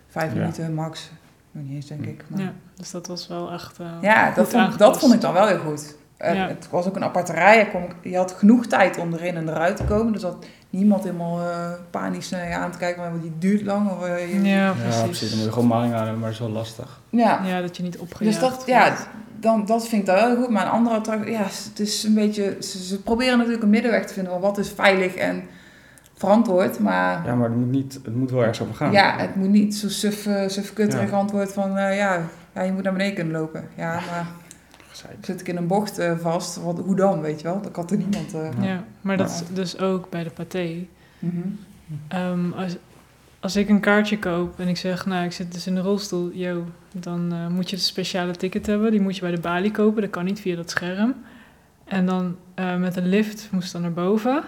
Vijf Ja. minuten max. Nog niet eens, denk ik. Maar... Ja, dus dat was wel echt. eh, Ja, goed dat vond, dat aangepast. vond ik dan wel heel goed. Eh, Ja. Het was ook een aparte rij. Je, kon, je had genoeg tijd om erin en eruit te komen. Dus dat niemand helemaal eh, panisch naar je aan te kijken. Maar die duurt lang. Of, eh, je- Ja, Ja, precies. precies. Dan moet je gewoon maling houden, maar dat is wel lastig. ja. Ja, dat je niet opgejaagd Dus dat, wordt. ja, dan, dat vind ik dan wel heel goed. Maar een andere attractie, ja, het is een beetje... Ze, ze proberen natuurlijk een middenweg te vinden van wat is veilig en verantwoord. Maar Ja, maar het moet, niet, het moet wel ergens over ja, gaan. het moet niet zo suf, eh, sufkutterig Ja. antwoord van... eh, ja, ja, je moet naar beneden kunnen lopen. Ja, maar Gezeik. zit ik in een bocht eh, vast, wat, hoe dan, weet je wel? Dat kan toch niemand... eh, Ja, maar dat is dus ook bij de paté. Mhm. Ehm, als, als ik een kaartje koop en ik zeg, nou, ik zit dus in de rolstoel, yo, dan eh, moet je een speciale ticket hebben. Die moet je bij de balie kopen, dat kan niet via dat scherm. En dan eh, met een lift moest dan naar boven.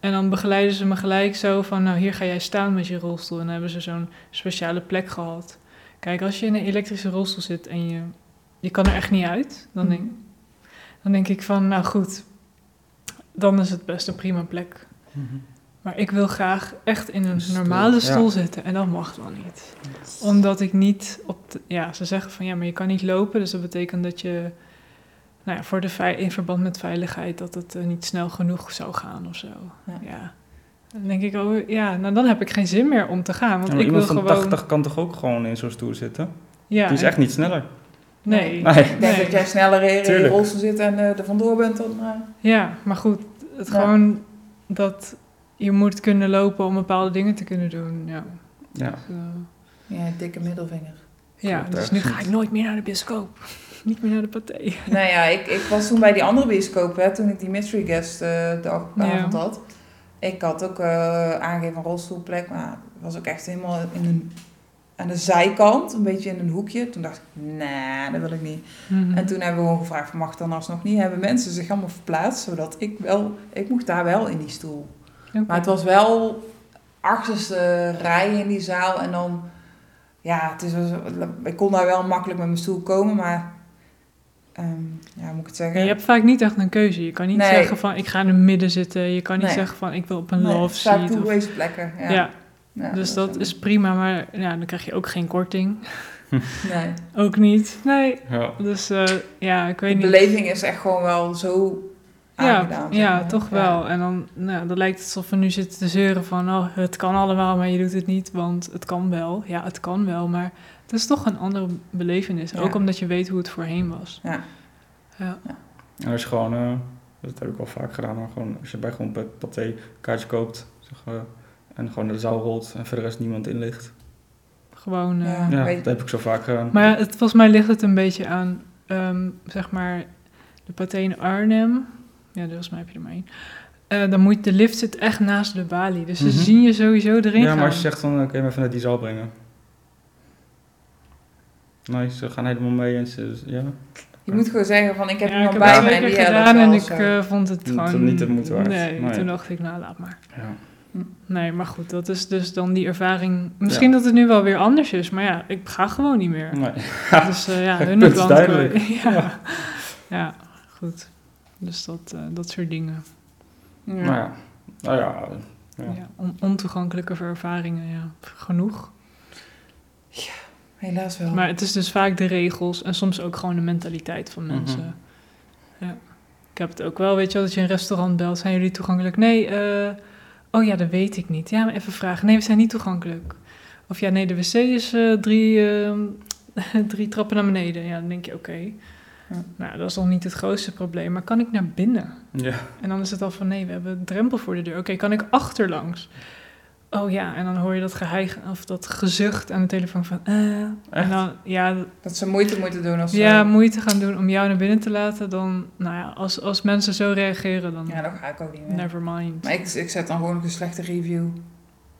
En dan begeleiden ze me gelijk zo van, nou, hier ga jij staan met je rolstoel. En dan hebben ze zo'n speciale plek gehad. Kijk, als je in een elektrische rolstoel zit en je, je kan er echt niet uit, Mm. dan denk, dan denk ik van, nou goed, dan is het best een prima plek. Mhm. Maar ik wil graag echt in een Een stoel, normale stoel Dus ja. zitten. En dat mag dan niet. Omdat ik niet op de, Ja, ze zeggen van ja, maar je kan niet lopen. Dus dat betekent dat je... Nou ja, voor de vei- in verband met veiligheid... dat het eh, niet snel genoeg zou gaan of zo. Ja. Ja. Dan denk ik, oh ja, nou dan heb ik geen zin meer om te gaan. Want Ja, maar ik wil iemand van gewoon... 80 kan toch ook gewoon in zo'n stoel zitten? ja, Die is en- echt niet sneller. Nee. Nee. Ik denk dat jij sneller in in je Tuurlijk. rolstoel zit en eh, er vandoor bent dan... eh, Ja, maar goed. Het Ja. gewoon dat je moet kunnen lopen om bepaalde dingen te kunnen doen. Ja, Ja. Dus, eh, ja, dikke middelvinger. Ja, Klopt, dus echt nu niet. ga ik nooit meer naar de bioscoop. Niet meer naar de paté. Nou ja, ik, ik was toen bij die andere bioscoop, hè, toen ik die mystery guest eh, de av- de Ja. avond had. Ik had ook eh, aangegeven een rolstoelplek, maar het was ook echt helemaal in een, aan de zijkant, een beetje in een hoekje. Toen dacht ik, nee, dat wil ik niet. Mhm. En toen hebben we gewoon gevraagd, mag het dan alsnog niet? Hebben mensen zich allemaal verplaatst, zodat ik wel, ik mocht daar wel in die stoel. Oké. Maar het was wel achterste rij in die zaal. En dan, ja, het is, wel- ik kon daar wel makkelijk met mijn stoel komen, maar ehm, ja, hoe moet ik het Ja, zeggen? je hebt vaak niet echt een keuze. Je kan niet Nee. zeggen van ik ga in het midden zitten. Je kan niet Nee. zeggen van ik wil op een Nee, love het staat seat. of- toegewezen plekken. Ja, ja. Ja, dus dat is prima. Maar ja, dan krijg je ook geen korting. Nee. Ook niet. Nee. Ja. Dus eh, ja, ik weet De niet. beleving is echt gewoon wel zo ja, aangedaan. zeg ja, maar. toch wel. En dan, nou, dan lijkt het alsof we nu zitten te zeuren van oh, het kan allemaal, maar je doet het niet. Want het kan wel. Ja, het kan wel. Maar het is toch een andere belevenis. Ja. Ook omdat je weet hoe het voorheen was. Ja. Ja. En als je gewoon, eh, dat heb ik wel vaak gedaan, maar gewoon als je bij gewoon bij Pathé een kaartje koopt zeg, eh, en gewoon naar de zaal rolt en verder is niemand in ligt. Gewoon. eh, Ja. Ja, weet- dat heb ik zo vaak gedaan. Maar ja, het, volgens mij ligt het een beetje aan, ehm, zeg maar, de paté in Arnhem. Ja, dus volgens mij heb je er maar één. Eh, dan moet de lift zit echt naast de balie. Dus ze Mhm. zien je sowieso erin ja, gaan. maar als je zegt van, oké, maar even naar die zaal brengen. Nee, ze gaan helemaal mee en ze, ja. Je moet gewoon zeggen van, ik heb Ja, iemand ik heb bij het me. twee En keer die eh, dat gedaan en wel ik zo. eh, vond het Niet- gewoon... niet de moeite waard. Nee, Maar ja. toen dacht ik, nou, laat maar. ja. Nee, maar goed, dat is dus dan die ervaring. Misschien dat het nu wel weer anders is, maar ja, ik ga gewoon niet meer. Nee. Dus eh, ja, Punt hun ook wel duidelijk. antwoord. ja. ja, goed. Dus dat, eh, dat soort dingen. eh, Ja. Nou ja, nou ja. Ja. Ja. on- ontoegankelijke ervaringen, ja, genoeg. Helaas wel. Maar het is dus vaak de regels en soms ook gewoon de mentaliteit van mensen. ja. Ik heb het ook wel, weet je wel, dat je een restaurant belt, zijn jullie toegankelijk? Nee, eh, oh ja, dat weet ik niet. Ja, maar even vragen. Nee, we zijn niet toegankelijk. Of ja, nee, de wc is eh, drie, ehm, drie trappen naar beneden. Ja, dan denk je, oké. Ja. Nou, dat is nog niet het grootste probleem, maar kan ik naar binnen? ja. En dan is het al van nee, we hebben een drempel voor de deur. Oké, kan ik achterlangs? Oh ja, en dan hoor je dat geheig of dat gezucht aan de telefoon van. eh. En Echt? dan ja, d- Dat ze moeite moeten doen als ze... ja, moeite gaan doen om jou naar binnen te laten. Dan, nou ja, als, als mensen zo reageren, dan ja, dat ga ik ook niet meer. never mind. Maar ik, ik zet dan gewoon een slechte review.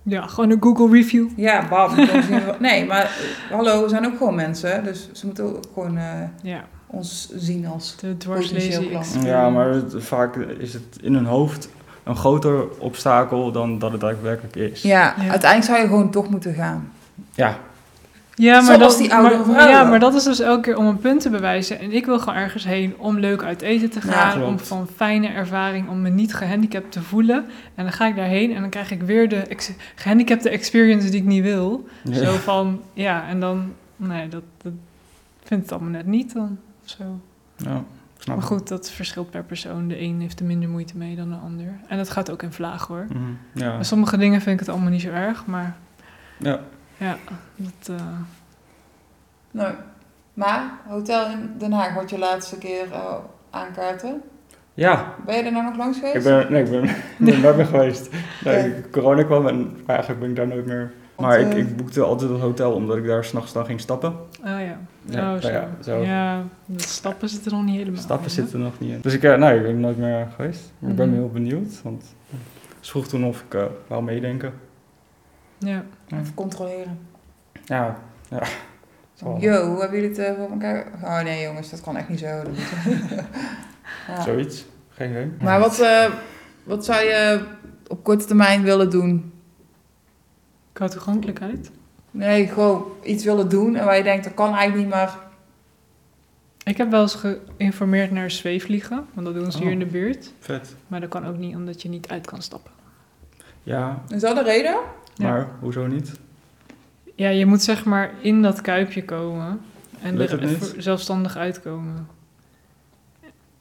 Ja, gewoon een Google review. Ja, bam. dan zien we- nee, maar eh, hallo, we zijn ook gewoon mensen. Dus ze moeten ook gewoon eh, Ja, ons zien als... de Potentieel dwarslezen. klant. experience. ja, maar het- vaak is het in hun hoofd een groter obstakel dan dat het daadwerkelijk is. Ja, Ja. uiteindelijk zou je gewoon toch moeten gaan. Ja, Ja, maar Zoals dat, die oudere maar- vrouwen. Ja, maar dat is dus elke keer om een punt te bewijzen. En ik wil gewoon ergens heen om leuk uit eten te Ja, gaan. klopt. om van fijne ervaring, om me niet gehandicapt te voelen. En dan ga ik daarheen en dan krijg ik weer de ex- gehandicapte experience die ik niet wil. Ja. Zo van, ja, en dan nee, dat, dat vind ik allemaal net niet dan. of Zo. Ja, ik snap Maar het. goed, dat verschilt per persoon. De een heeft er minder moeite mee dan de ander. En dat gaat ook in vlaag hoor. Mhm, Ja. Bij sommige dingen vind ik het allemaal niet zo erg, maar ja. ja, dat, eh, Nee. Nou, Maar, hotel in Den Haag wordt je laatste keer eh, aankaarten. Ja, Ben je er nou nog langs geweest? ik ben, nee, ik ben, ik ben nooit meer geweest. Nee, Ja. corona kwam en eigenlijk ben ik daar nooit meer. Want, Maar ik, eh, ik boekte altijd het hotel omdat ik daar s'nachts dan ging stappen. oh ja. Ja, oh, nou zo. ja, Ja, zo. de stappen zitten er nog niet helemaal Stappen in, hè? zitten er nog niet in. Dus ik, eh, nee, ik ben nooit meer geweest. Maar Ik ben Mhm. heel benieuwd, want ze vroeg toen of ik eh, wou meedenken. Ja. Even controleren. Ja, ja. het zal wel. Yo, hoe hebben jullie het eh, voor elkaar? Oh nee jongens, dat kan echt niet zo. Dat moet- Ja. Zoiets. Geen idee. Maar wat, eh, wat zou je op korte termijn willen doen? Qua toegankelijkheid. Nee, gewoon iets willen doen en waar je denkt, dat kan eigenlijk niet, maar... Ik heb wel eens geïnformeerd naar zweefvliegen, want dat doen ze Oh. hier in de buurt. Vet. Maar dat kan ook niet omdat je niet uit kan stappen. Ja, Is dat de reden? Ja. maar hoezo niet? Ja, je moet zeg maar in dat kuipje komen en Lukt er het niet? voor- zelfstandig uitkomen.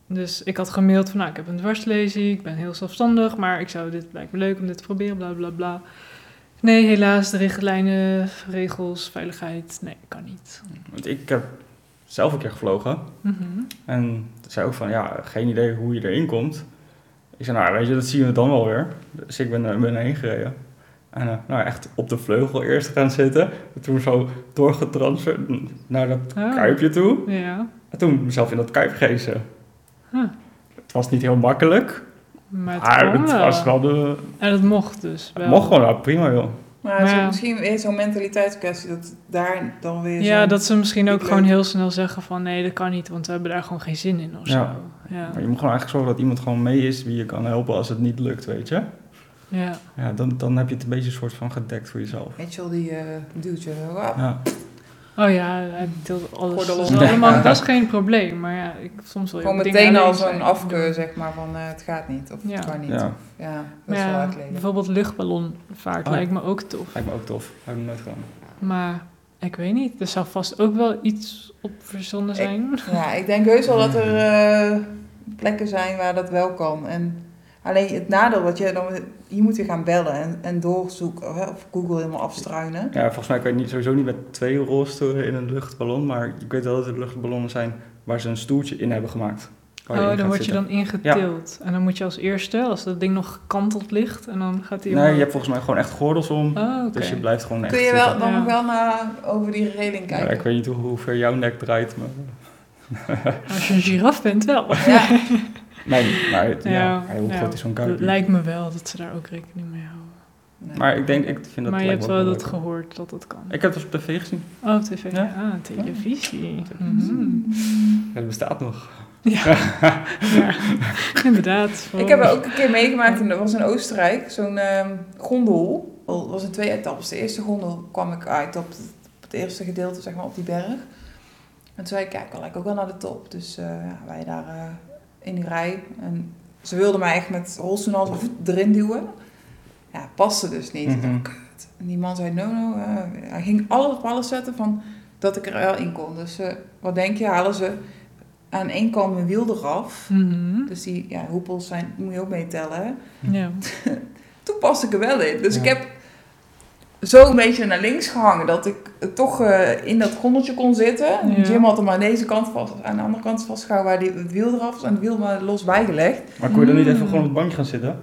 Dus ik had gemaild van, nou, ik heb een dwarslezing, ik ben heel zelfstandig, maar ik zou dit lijkt me leuk om dit te proberen, bla bla bla. Nee, helaas, de richtlijnen, regels, veiligheid, nee, kan niet. Want ik heb zelf een keer gevlogen. Mhm. En toen zei ook van, ja, geen idee hoe je erin komt. Ik zei, nou weet je, dat zien we dan wel weer. Dus ik ben, er- ben erheen gereden. En eh, nou echt op de vleugel eerst gaan zitten. En toen zo doorgetransferd naar dat Oh. kuipje toe. Ja, En toen mezelf in dat kuip gegeven. Huh. Het was niet heel makkelijk. maar het, Maar kon het wel. was wel de... En dat mocht dus wel. Het mocht gewoon, nou, prima joh. Maar het is Maar ook ja. misschien weer zo'n mentaliteitskwestie dat daar dan weer Ja, zo'n- dat ze misschien ook Ik gewoon leuk. heel snel zeggen van nee, dat kan niet, want we hebben daar gewoon geen zin in of Ja. zo. Ja, Maar je moet gewoon eigenlijk zorgen dat iemand gewoon mee is wie je kan helpen als het niet lukt, weet je. ja. Ja, dan, dan heb je het een beetje een soort van gedekt voor jezelf. Mitchell die eh, duwt je zo af. Ja, Oh ja, hij deelt alles. Gordel Dat is om. allemaal, Ja. dat is geen probleem, maar ja, ik, soms wil je Gewoon ook meteen dingen al alleen zo'n zijn. afkeur, zeg maar, van eh, het gaat niet of Ja. het kan niet. Ja, ja. dat Maar is wel ja, uitleggen. bijvoorbeeld luchtballonvaart Oh. lijkt me ook tof. lijkt me ook tof. Heb ik nog nooit gedaan. Maar ik weet niet, er zou vast ook wel iets op verzonnen Ik- zijn. Ja, ik denk heus wel dat er eh, plekken zijn waar dat wel kan. En alleen het nadeel, wat je dan je moet weer gaan bellen en, en doorzoeken of, hè, of Google helemaal afstruinen. Ja, volgens mij kan je niet, sowieso niet met twee rolstoelen in een luchtballon. Maar ik weet wel dat er luchtballonnen zijn waar ze een stoeltje in hebben gemaakt. waar je in Oh, dan gaat word je zitten. dan ingetild. En dan moet je als eerste, als dat ding nog gekanteld ligt, en dan gaat Nee, hij... je omhoog. hebt volgens mij gewoon echt gordels om. Oh, oké. Dus je blijft gewoon echt Kun je wel, zitten. dan Ja. nog wel naar, over die reling Ja, ik kijken? weet niet hoe, hoe ver jouw nek draait. Maar... Als je een giraf bent, wel. Ja, Nee, maar het- ja, Ja, maar hoe ja. groot is zo'n Het kuipje? lijkt me wel dat ze daar ook rekening mee houden. Nee. Maar ik denk, ik vind dat maar je lijkt hebt me ook wel dat leuk. gehoord dat dat kan. Ik heb het op tv gezien. Oh, tv. Ja. Ah, televisie. Mhm. Mhm. Het bestaat nog. Ja, inderdaad. Ik heb er ook een keer meegemaakt, en dat was in Oostenrijk, zo'n ehm, gondel. Dat was in twee etappes. De eerste gondel kwam ik uit op het, op het eerste gedeelte, zeg maar, op die berg. En toen zei ik, kijk, ik lijkt ook wel naar de top. Dus eh, ja, wij daar eh, in die rij. En ze wilden mij echt met rolstoel als erin duwen. Ja, paste dus niet. Ik dacht, Mhm. kut. En die man zei, no, no. eh, hij ging alles op alles zetten van dat ik er wel in kon. Dus eh, wat denk je, halen ze aan één kant mijn wiel eraf. Mhm. Dus die ja, hoepels zijn, moet je ook meetellen. hè. Ja. Toen pas ik er wel in. Dus Ja. ik heb zo een beetje naar links gehangen dat ik eh, toch eh, in dat gondeltje kon zitten. En Ja. Jim had hem aan deze kant vast, aan de andere kant vastgehouden waar die, het wiel eraf was en het wiel maar los bijgelegd. Maar kon je dan niet Mm. even gewoon op het bankje gaan zitten?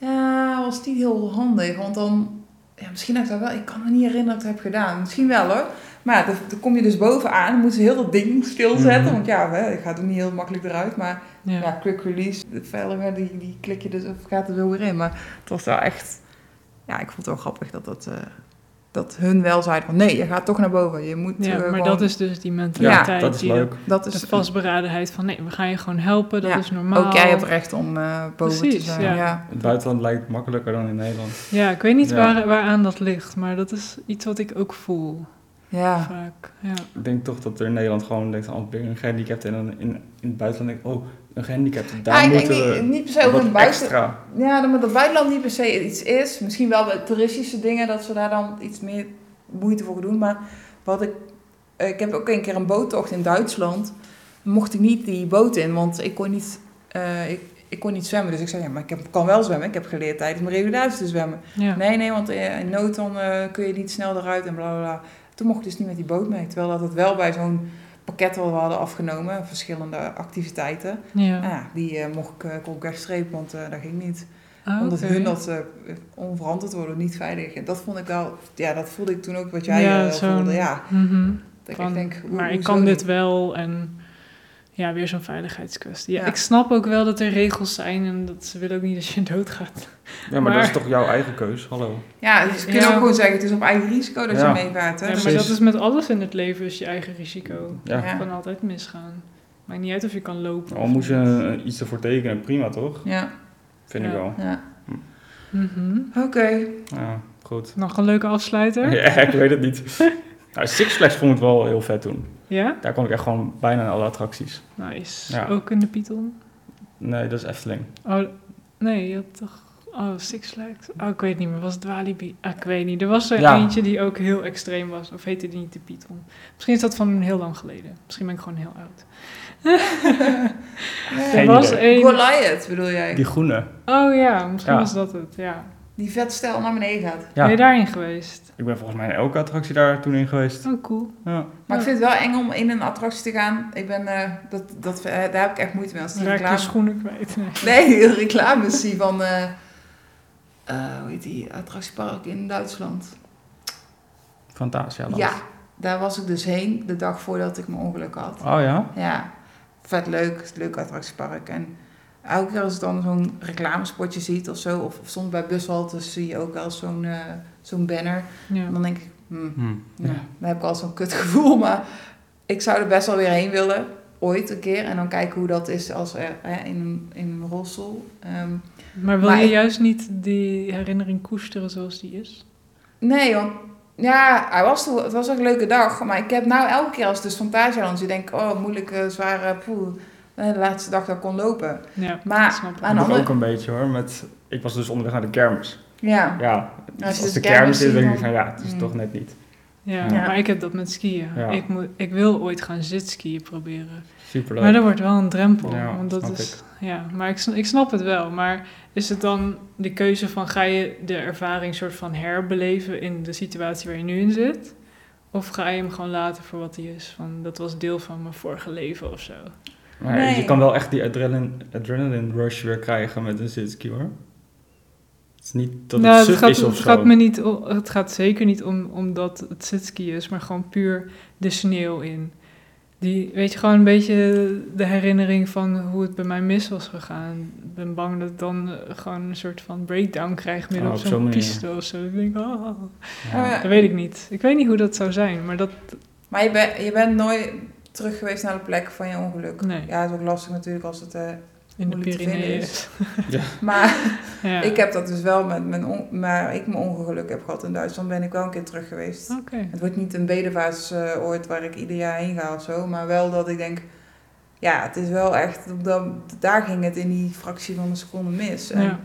Ja, was niet heel handig, want dan, ja, misschien heb ik dat wel, ik kan me niet herinneren dat ik het heb gedaan. Misschien wel hoor. Maar ja, dan, dan kom je dus bovenaan, dan moeten ze heel dat ding stilzetten. Mhm. Want ja, hè, ik ga het ook niet heel makkelijk eruit, maar Ja. Ja, quick release. De veiliger, die, die klik je dus of gaat er wel weer in. Maar het was wel echt... Ja, ik vond het wel grappig dat dat... eh, dat hun wel zeiden van... Nee, je gaat toch naar boven. Je moet Ja, eh, maar gewoon- dat is dus die mentaliteit. dat is die leuk. Dat De is... vastberadenheid van nee, we gaan je gewoon helpen, dat Ja, is normaal. Ook jij hebt recht om eh, boven Precies, te zijn. ja. Ja. Het buitenland lijkt makkelijker dan in Nederland. Ja, ik weet niet Ja. waar, waaraan dat ligt, maar dat is iets wat ik ook voel Ja. vaak. Ja. Ik denk toch dat er in Nederland gewoon denkt, oh, ik ben een gehandicapte. En dan in, in het buitenland denk ik, oh, een gehandicapte, daar Ja, Ah, ik denk moeten niet, we niet per se over wat het buitenland. extra. Ja, maar dat buitenland niet per se iets is. Misschien wel bij toeristische dingen dat ze daar dan iets meer moeite voor doen. Maar Wat ik, eh, ik heb ook een keer een boottocht in Duitsland. Mocht ik niet die boot in, want ik kon niet, eh, ik, ik kon niet zwemmen. Dus ik zei, ja, maar ik heb, kan wel zwemmen. Ik heb geleerd tijdens mijn regulatie te zwemmen. Ja. Nee, nee, want eh, in nood dan eh, kun je niet snel eruit en bla bla bla. Toen mocht ik dus niet met die boot mee. Terwijl dat het wel bij zo'n pakket wat we hadden afgenomen, verschillende activiteiten. ja. Nou ja, die eh, mocht ik, eh, kon ik wegstrepen, want eh, dat ging niet. Ah, Omdat oké. hun dat eh, onverantwoord worden, niet veilig. En dat vond ik wel, ja, dat voelde ik toen ook wat jij Ja, eh, zo'n- voelde. Ja, Mhm. dat Van, ik denk, hoe- maar ik hoezo kan dit niet? wel en ja, weer zo'n veiligheidskwestie. Ja, Ja. Ik snap ook wel dat er regels zijn en dat ze willen ook niet dat je doodgaat. Ja, maar, dat Maar- is toch jouw eigen keus? Hallo. Ja, dus je kunt Ja. ook gewoon zeggen, het is op eigen risico dat Ja. je meevaart. Hè? Ja, maar precies. dat is met alles in het leven is je eigen risico. Ja. Ja. Het kan altijd misgaan. Maakt niet uit of je kan lopen. Al of moet je niet. eh, iets ervoor tekenen, prima toch? Ja, Vind ik Ja. wel. ja. Mhm. Oké. Ja, goed. Nog een leuke afsluiter. Ja, ik weet het niet. Nou, Six Flags vond ik wel heel vet toen. Ja? Daar kon ik echt gewoon bijna naar alle attracties. Nice. Ja. Ook in de Python? Nee, dat is Efteling. Oh, nee, je had toch... Oh, Six Flags? Oh, ik weet niet meer. Was het Walibi? Ah, ik weet niet. Er was er Ja. eentje die ook heel extreem was. Of heette die niet de Python? Misschien is dat van heel lang geleden. Misschien ben ik gewoon heel oud. Geen er was idee. één... Goliath bedoel jij? Die Die, groene. Oh ja, misschien Ja. was dat het. Ja. vet stijl naar beneden gaat. Ja. Ben je daarin geweest? Ik ben volgens mij in elke attractie daar toen in geweest. Oh, cool. Ja. Maar Ja. ik vind het wel eng om in een attractie te gaan. Ik ben, eh, dat, dat, eh, daar heb ik echt moeite mee. Als ik Dan die raak je reclame... schoenen kwijt. Nee. Nee, de reclames zie van... eh, eh, hoe heet die? Attractiepark in Duitsland. Fantasialand. Ja, daar was ik dus heen de dag voordat ik mijn ongeluk had. Oh ja? Ja, vet leuk. Leuk attractiepark. En elke keer als ik dan zo'n reclamespotje ziet of zo... of, of soms bij bushaltes zie je ook wel eens zo'n eh, zo'n banner. Ja. En dan denk ik... hmm, Hm. Nou, dan heb ik al zo'n kut gevoel, maar ik zou er best wel weer heen willen, ooit een keer. En dan kijken hoe dat is als er, hè, in, een- in een rolstoel. Ehm, Maar wil Maar je ik- juist niet die herinnering koesteren zoals die is? nee, want ja, hij was, toen- het was echt een leuke dag. Maar ik heb nou elke keer als het dus Fantasialand is, ik denk, oh, moeilijke, zware, poeh. eh, De laatste dag dat ik kon lopen. Ja, Maar dat snap ik. aan ik de andere... ook een beetje hoor. Met, ik was dus onderweg naar de kermis. Ja. Ja, je als, dus de de kermis kermis is, ziet, denk dan- ik van ja, het is Mm. toch net niet. Ja, Ja. maar ik heb dat met skiën. Ja. Ik, moet, ik wil ooit gaan zitskiën proberen. Superleuk. Maar dat wordt wel een drempel. Ja, want dat snap is, ja, maar ik, sn- ik snap het wel. Maar is het dan de keuze van ga je de ervaring soort van herbeleven in de situatie waar je nu in zit? Of ga je hem gewoon laten voor wat hij is? Van, dat was deel van mijn vorige leven of zo. Maar Nee. je kan wel echt die adrenaline, adrenaline rush weer krijgen met een zitski hoor. Het is niet dat Nou, het suf gaat, is of het zo. Gaat me niet, o- het gaat zeker niet om, om dat het sitski is, maar gewoon puur de sneeuw in. Die, weet je, gewoon een beetje de herinnering van hoe het bij mij mis was gegaan. Ik ben bang dat ik dan eh, gewoon een soort van breakdown krijg midden Oh, op op zo'n zo'n manier. piste of zo. Ik denk, oh, Ja. Eh, dat weet ik niet. Ik weet niet hoe dat zou zijn, maar dat... Maar je, bent je bent nooit terug geweest naar de plek van je ongeluk. Nee. Ja, het is ook lastig natuurlijk als het... eh, In de Moeilijk te vinden Pyreneeën. is. maar Ja. Ik heb dat dus wel met mijn, on- maar ik mijn ongeluk heb gehad in Duitsland, ben ik wel een keer terug geweest. Oké. Het wordt niet een bedevaartsoord waar ik ieder jaar heen ga of zo, maar wel dat ik denk, ja, het is wel echt, op dat, daar ging het in die fractie van een seconde mis. En, Ja.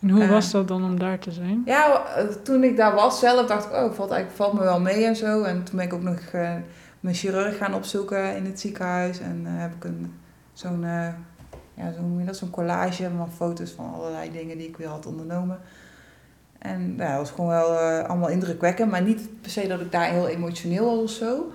En hoe Dus, Eh. was dat dan om daar te zijn? ja, eh, toen ik daar was zelf dacht ik, oh, valt, eigenlijk, valt me wel mee en zo. En toen ben ik ook nog eh, mijn chirurg gaan opzoeken in het ziekenhuis. En eh, heb ik een, zo'n, eh, ja, zo noem je dat, zo'n collage van foto's van allerlei dingen die ik weer had ondernomen. En ja, dat was gewoon wel eh, allemaal indrukwekkend. Maar niet per se dat ik daar heel emotioneel was of zo.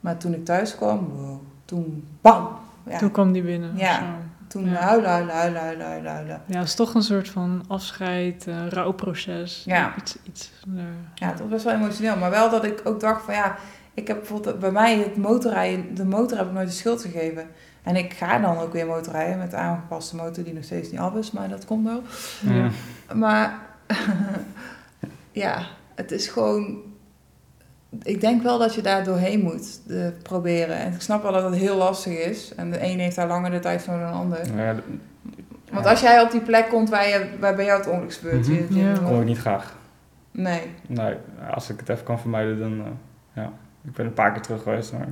Maar toen ik thuis kwam, wow, toen bam! Ja, Toen kwam die binnen. of Ja. zo. toen ja. huilen, huilen, huilen, huilen, huilen, huilen. Ja, het is toch een soort van afscheid, eh rouwproces. Ja. Iets, iets eh, Ja, het was best wel emotioneel. Maar wel dat ik ook dacht van ja, ik heb bijvoorbeeld bij mij het motorrijden, de motor heb ik nooit de schuld gegeven. En ik ga dan ook weer motorrijden met de aangepaste motor die nog steeds niet af is, maar dat komt wel. Ja. Maar ja, het is gewoon, ik denk wel dat je daar doorheen moet eh, proberen. En ik snap wel dat het heel lastig is. En de een heeft daar langer de tijd voor dan de ander. Nou ja, dat Want als jij op die plek komt waar, je, waar bij jou het ongeluk gebeurt. je- Mhm. je- Ja. kon ik niet graag. Nee. Nee, als ik het even kan vermijden, dan eh, ja. Ik ben een paar keer terug geweest, maar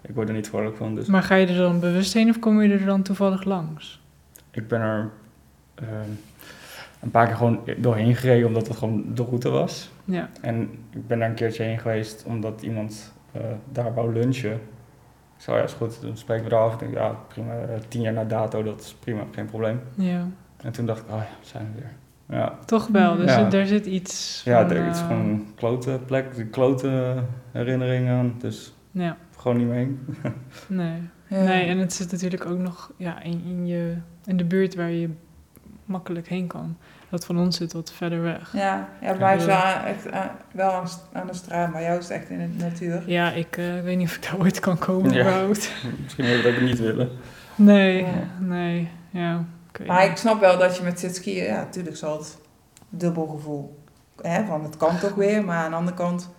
ik word er niet vrolijk van. Dus Maar ga je er dan bewust heen of kom je er dan toevallig langs? ik ben er eh, een paar keer gewoon doorheen gereden, omdat het gewoon de route was. Ja. En ik ben daar een keertje heen geweest, omdat iemand eh, daar wou lunchen. Ik zei, oh ja, is goed, dan spreek ik me daar af. Ik denk, ja, prima, eh, tien jaar na dato, dat is prima, geen probleem. ja. En toen dacht ik, oh ja, we zijn we weer. Ja, Toch wel, dus Ja. er- daar zit iets ja van, er is eh, gewoon een klote plek, een klote herinnering aan, dus Ja, gewoon niet meer heen. nee. Ja. Nee, en het zit natuurlijk ook nog ja, in, in, je, in de buurt waar je makkelijk heen kan. Dat van ons zit wat verder weg. Ja, ja, bij mij is wel aan- echt aan, wel aan, aan de straat, maar jou is het echt in de natuur. Ja, ik eh, weet niet of ik daar ooit kan komen Ja. überhaupt. Misschien wil ik dat ook niet willen. Nee, Ja. nee, ja. ik weet Maar niet. ik snap wel dat je met zit skiën, ja, natuurlijk zal het dubbel gevoel. Hè, van het kan toch weer, maar aan de andere kant,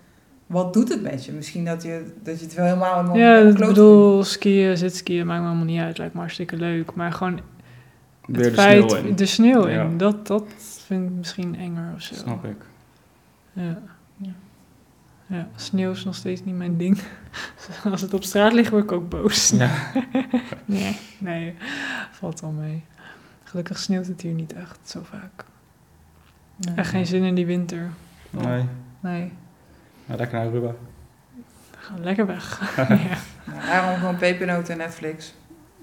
wat doet het met je? Misschien dat je, dat je het wel helemaal helemaal Ja, helemaal ik kloot bedoel, skiën, zitskiën, maakt me allemaal niet uit. Lijkt me hartstikke leuk. Maar gewoon Weer de het feit, sneeuw in. de sneeuw in, Ja. dat, dat vind ik misschien enger of zo. Snap ik. Ja. Ja. ja, sneeuw is nog steeds niet mijn ding. Als het op straat ligt, word ik ook boos. Ja. Nee, nee, valt al mee. Gelukkig sneeuwt het hier niet echt zo vaak. vindt. Echt geen zin in die winter. Nee, Nee, maar lekker naar Aruba. ga lekker weg. ja. Ja, daarom gewoon pepernoten en Netflix.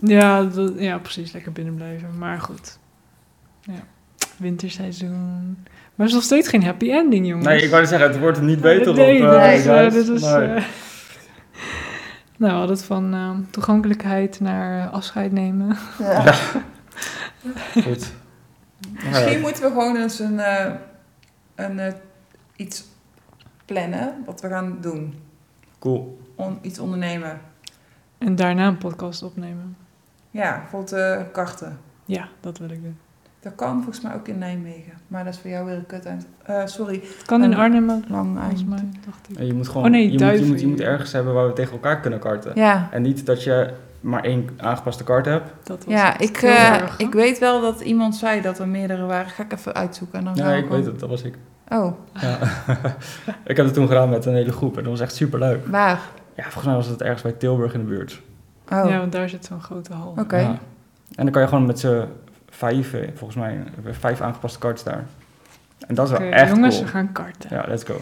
Ja, dat- ja, precies, lekker binnen blijven. Maar goed, ja. winterseizoen. Maar het is nog steeds geen happy ending, jongens. Nee, ik wou net zeggen, het wordt er niet beter op. Nee, eh, dit is, eh, guys. dit is, Nee. eh, nou, we hadden het van eh, toegankelijkheid naar eh, afscheid nemen. eh, Goed. Nou ja. Misschien moeten we gewoon eens een, eh, een, eh, iets plannen wat we gaan doen. Cool. On- iets ondernemen. En daarna een podcast opnemen. Ja, bijvoorbeeld eh, karten. Ja, dat wil ik doen. Dat kan volgens mij ook in Nijmegen. Maar dat is voor jou weer een kut eind. Eh, sorry, Het kan in En- Arnhem ook, lang volgens eind. mij, dacht ik. En je moet gewoon Oh nee, je, moet, je, duiven. moet, je moet ergens hebben waar we tegen elkaar kunnen karten. Ja, En niet dat je maar één aangepaste kaart hebt. Dat was ja het. ik, Heel eh, erg, hè? ik weet wel dat iemand zei dat er meerdere waren. Ga ik even uitzoeken. En dan gaan Ja, we ik gewoon- weet het, dat was ik. Oh, Ja. ik heb het toen gedaan met een hele groep en dat was echt super leuk. waar? Ja, volgens mij was het ergens bij Tilburg in de buurt. Oh, Ja, want daar zit zo'n grote hal. oké. Ja. En dan kan je gewoon met z'n vijf, eh, volgens mij, hebben we vijf aangepaste karts daar. En dat is wel Oké, echt jongens, cool. we gaan karten. Ja, let's go.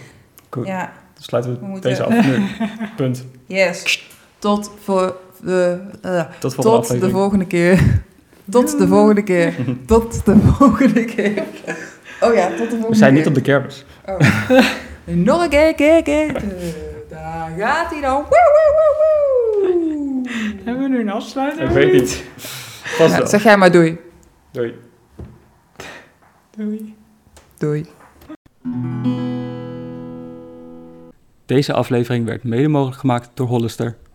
Goed. Ja, Dan sluiten We we, moeten- deze af nu. Punt. yes. Tot voor de... eh, Tot volgende Tot aflevering. de volgende keer. Tot de volgende keer. Tot de volgende keer. Oh ja, tot de volgende keer. we zijn niet op de kermis. Oh. Nog een keer, keer, keer. Eh, Daar gaat hij dan. Woe, woe, woe, woe. Hebben we nu een afsluiter? Ik weet niet. Vast Nou, wel. zeg jij maar doei. Doei. Doei. Doei. Deze aflevering werd mede mogelijk gemaakt door Hollister.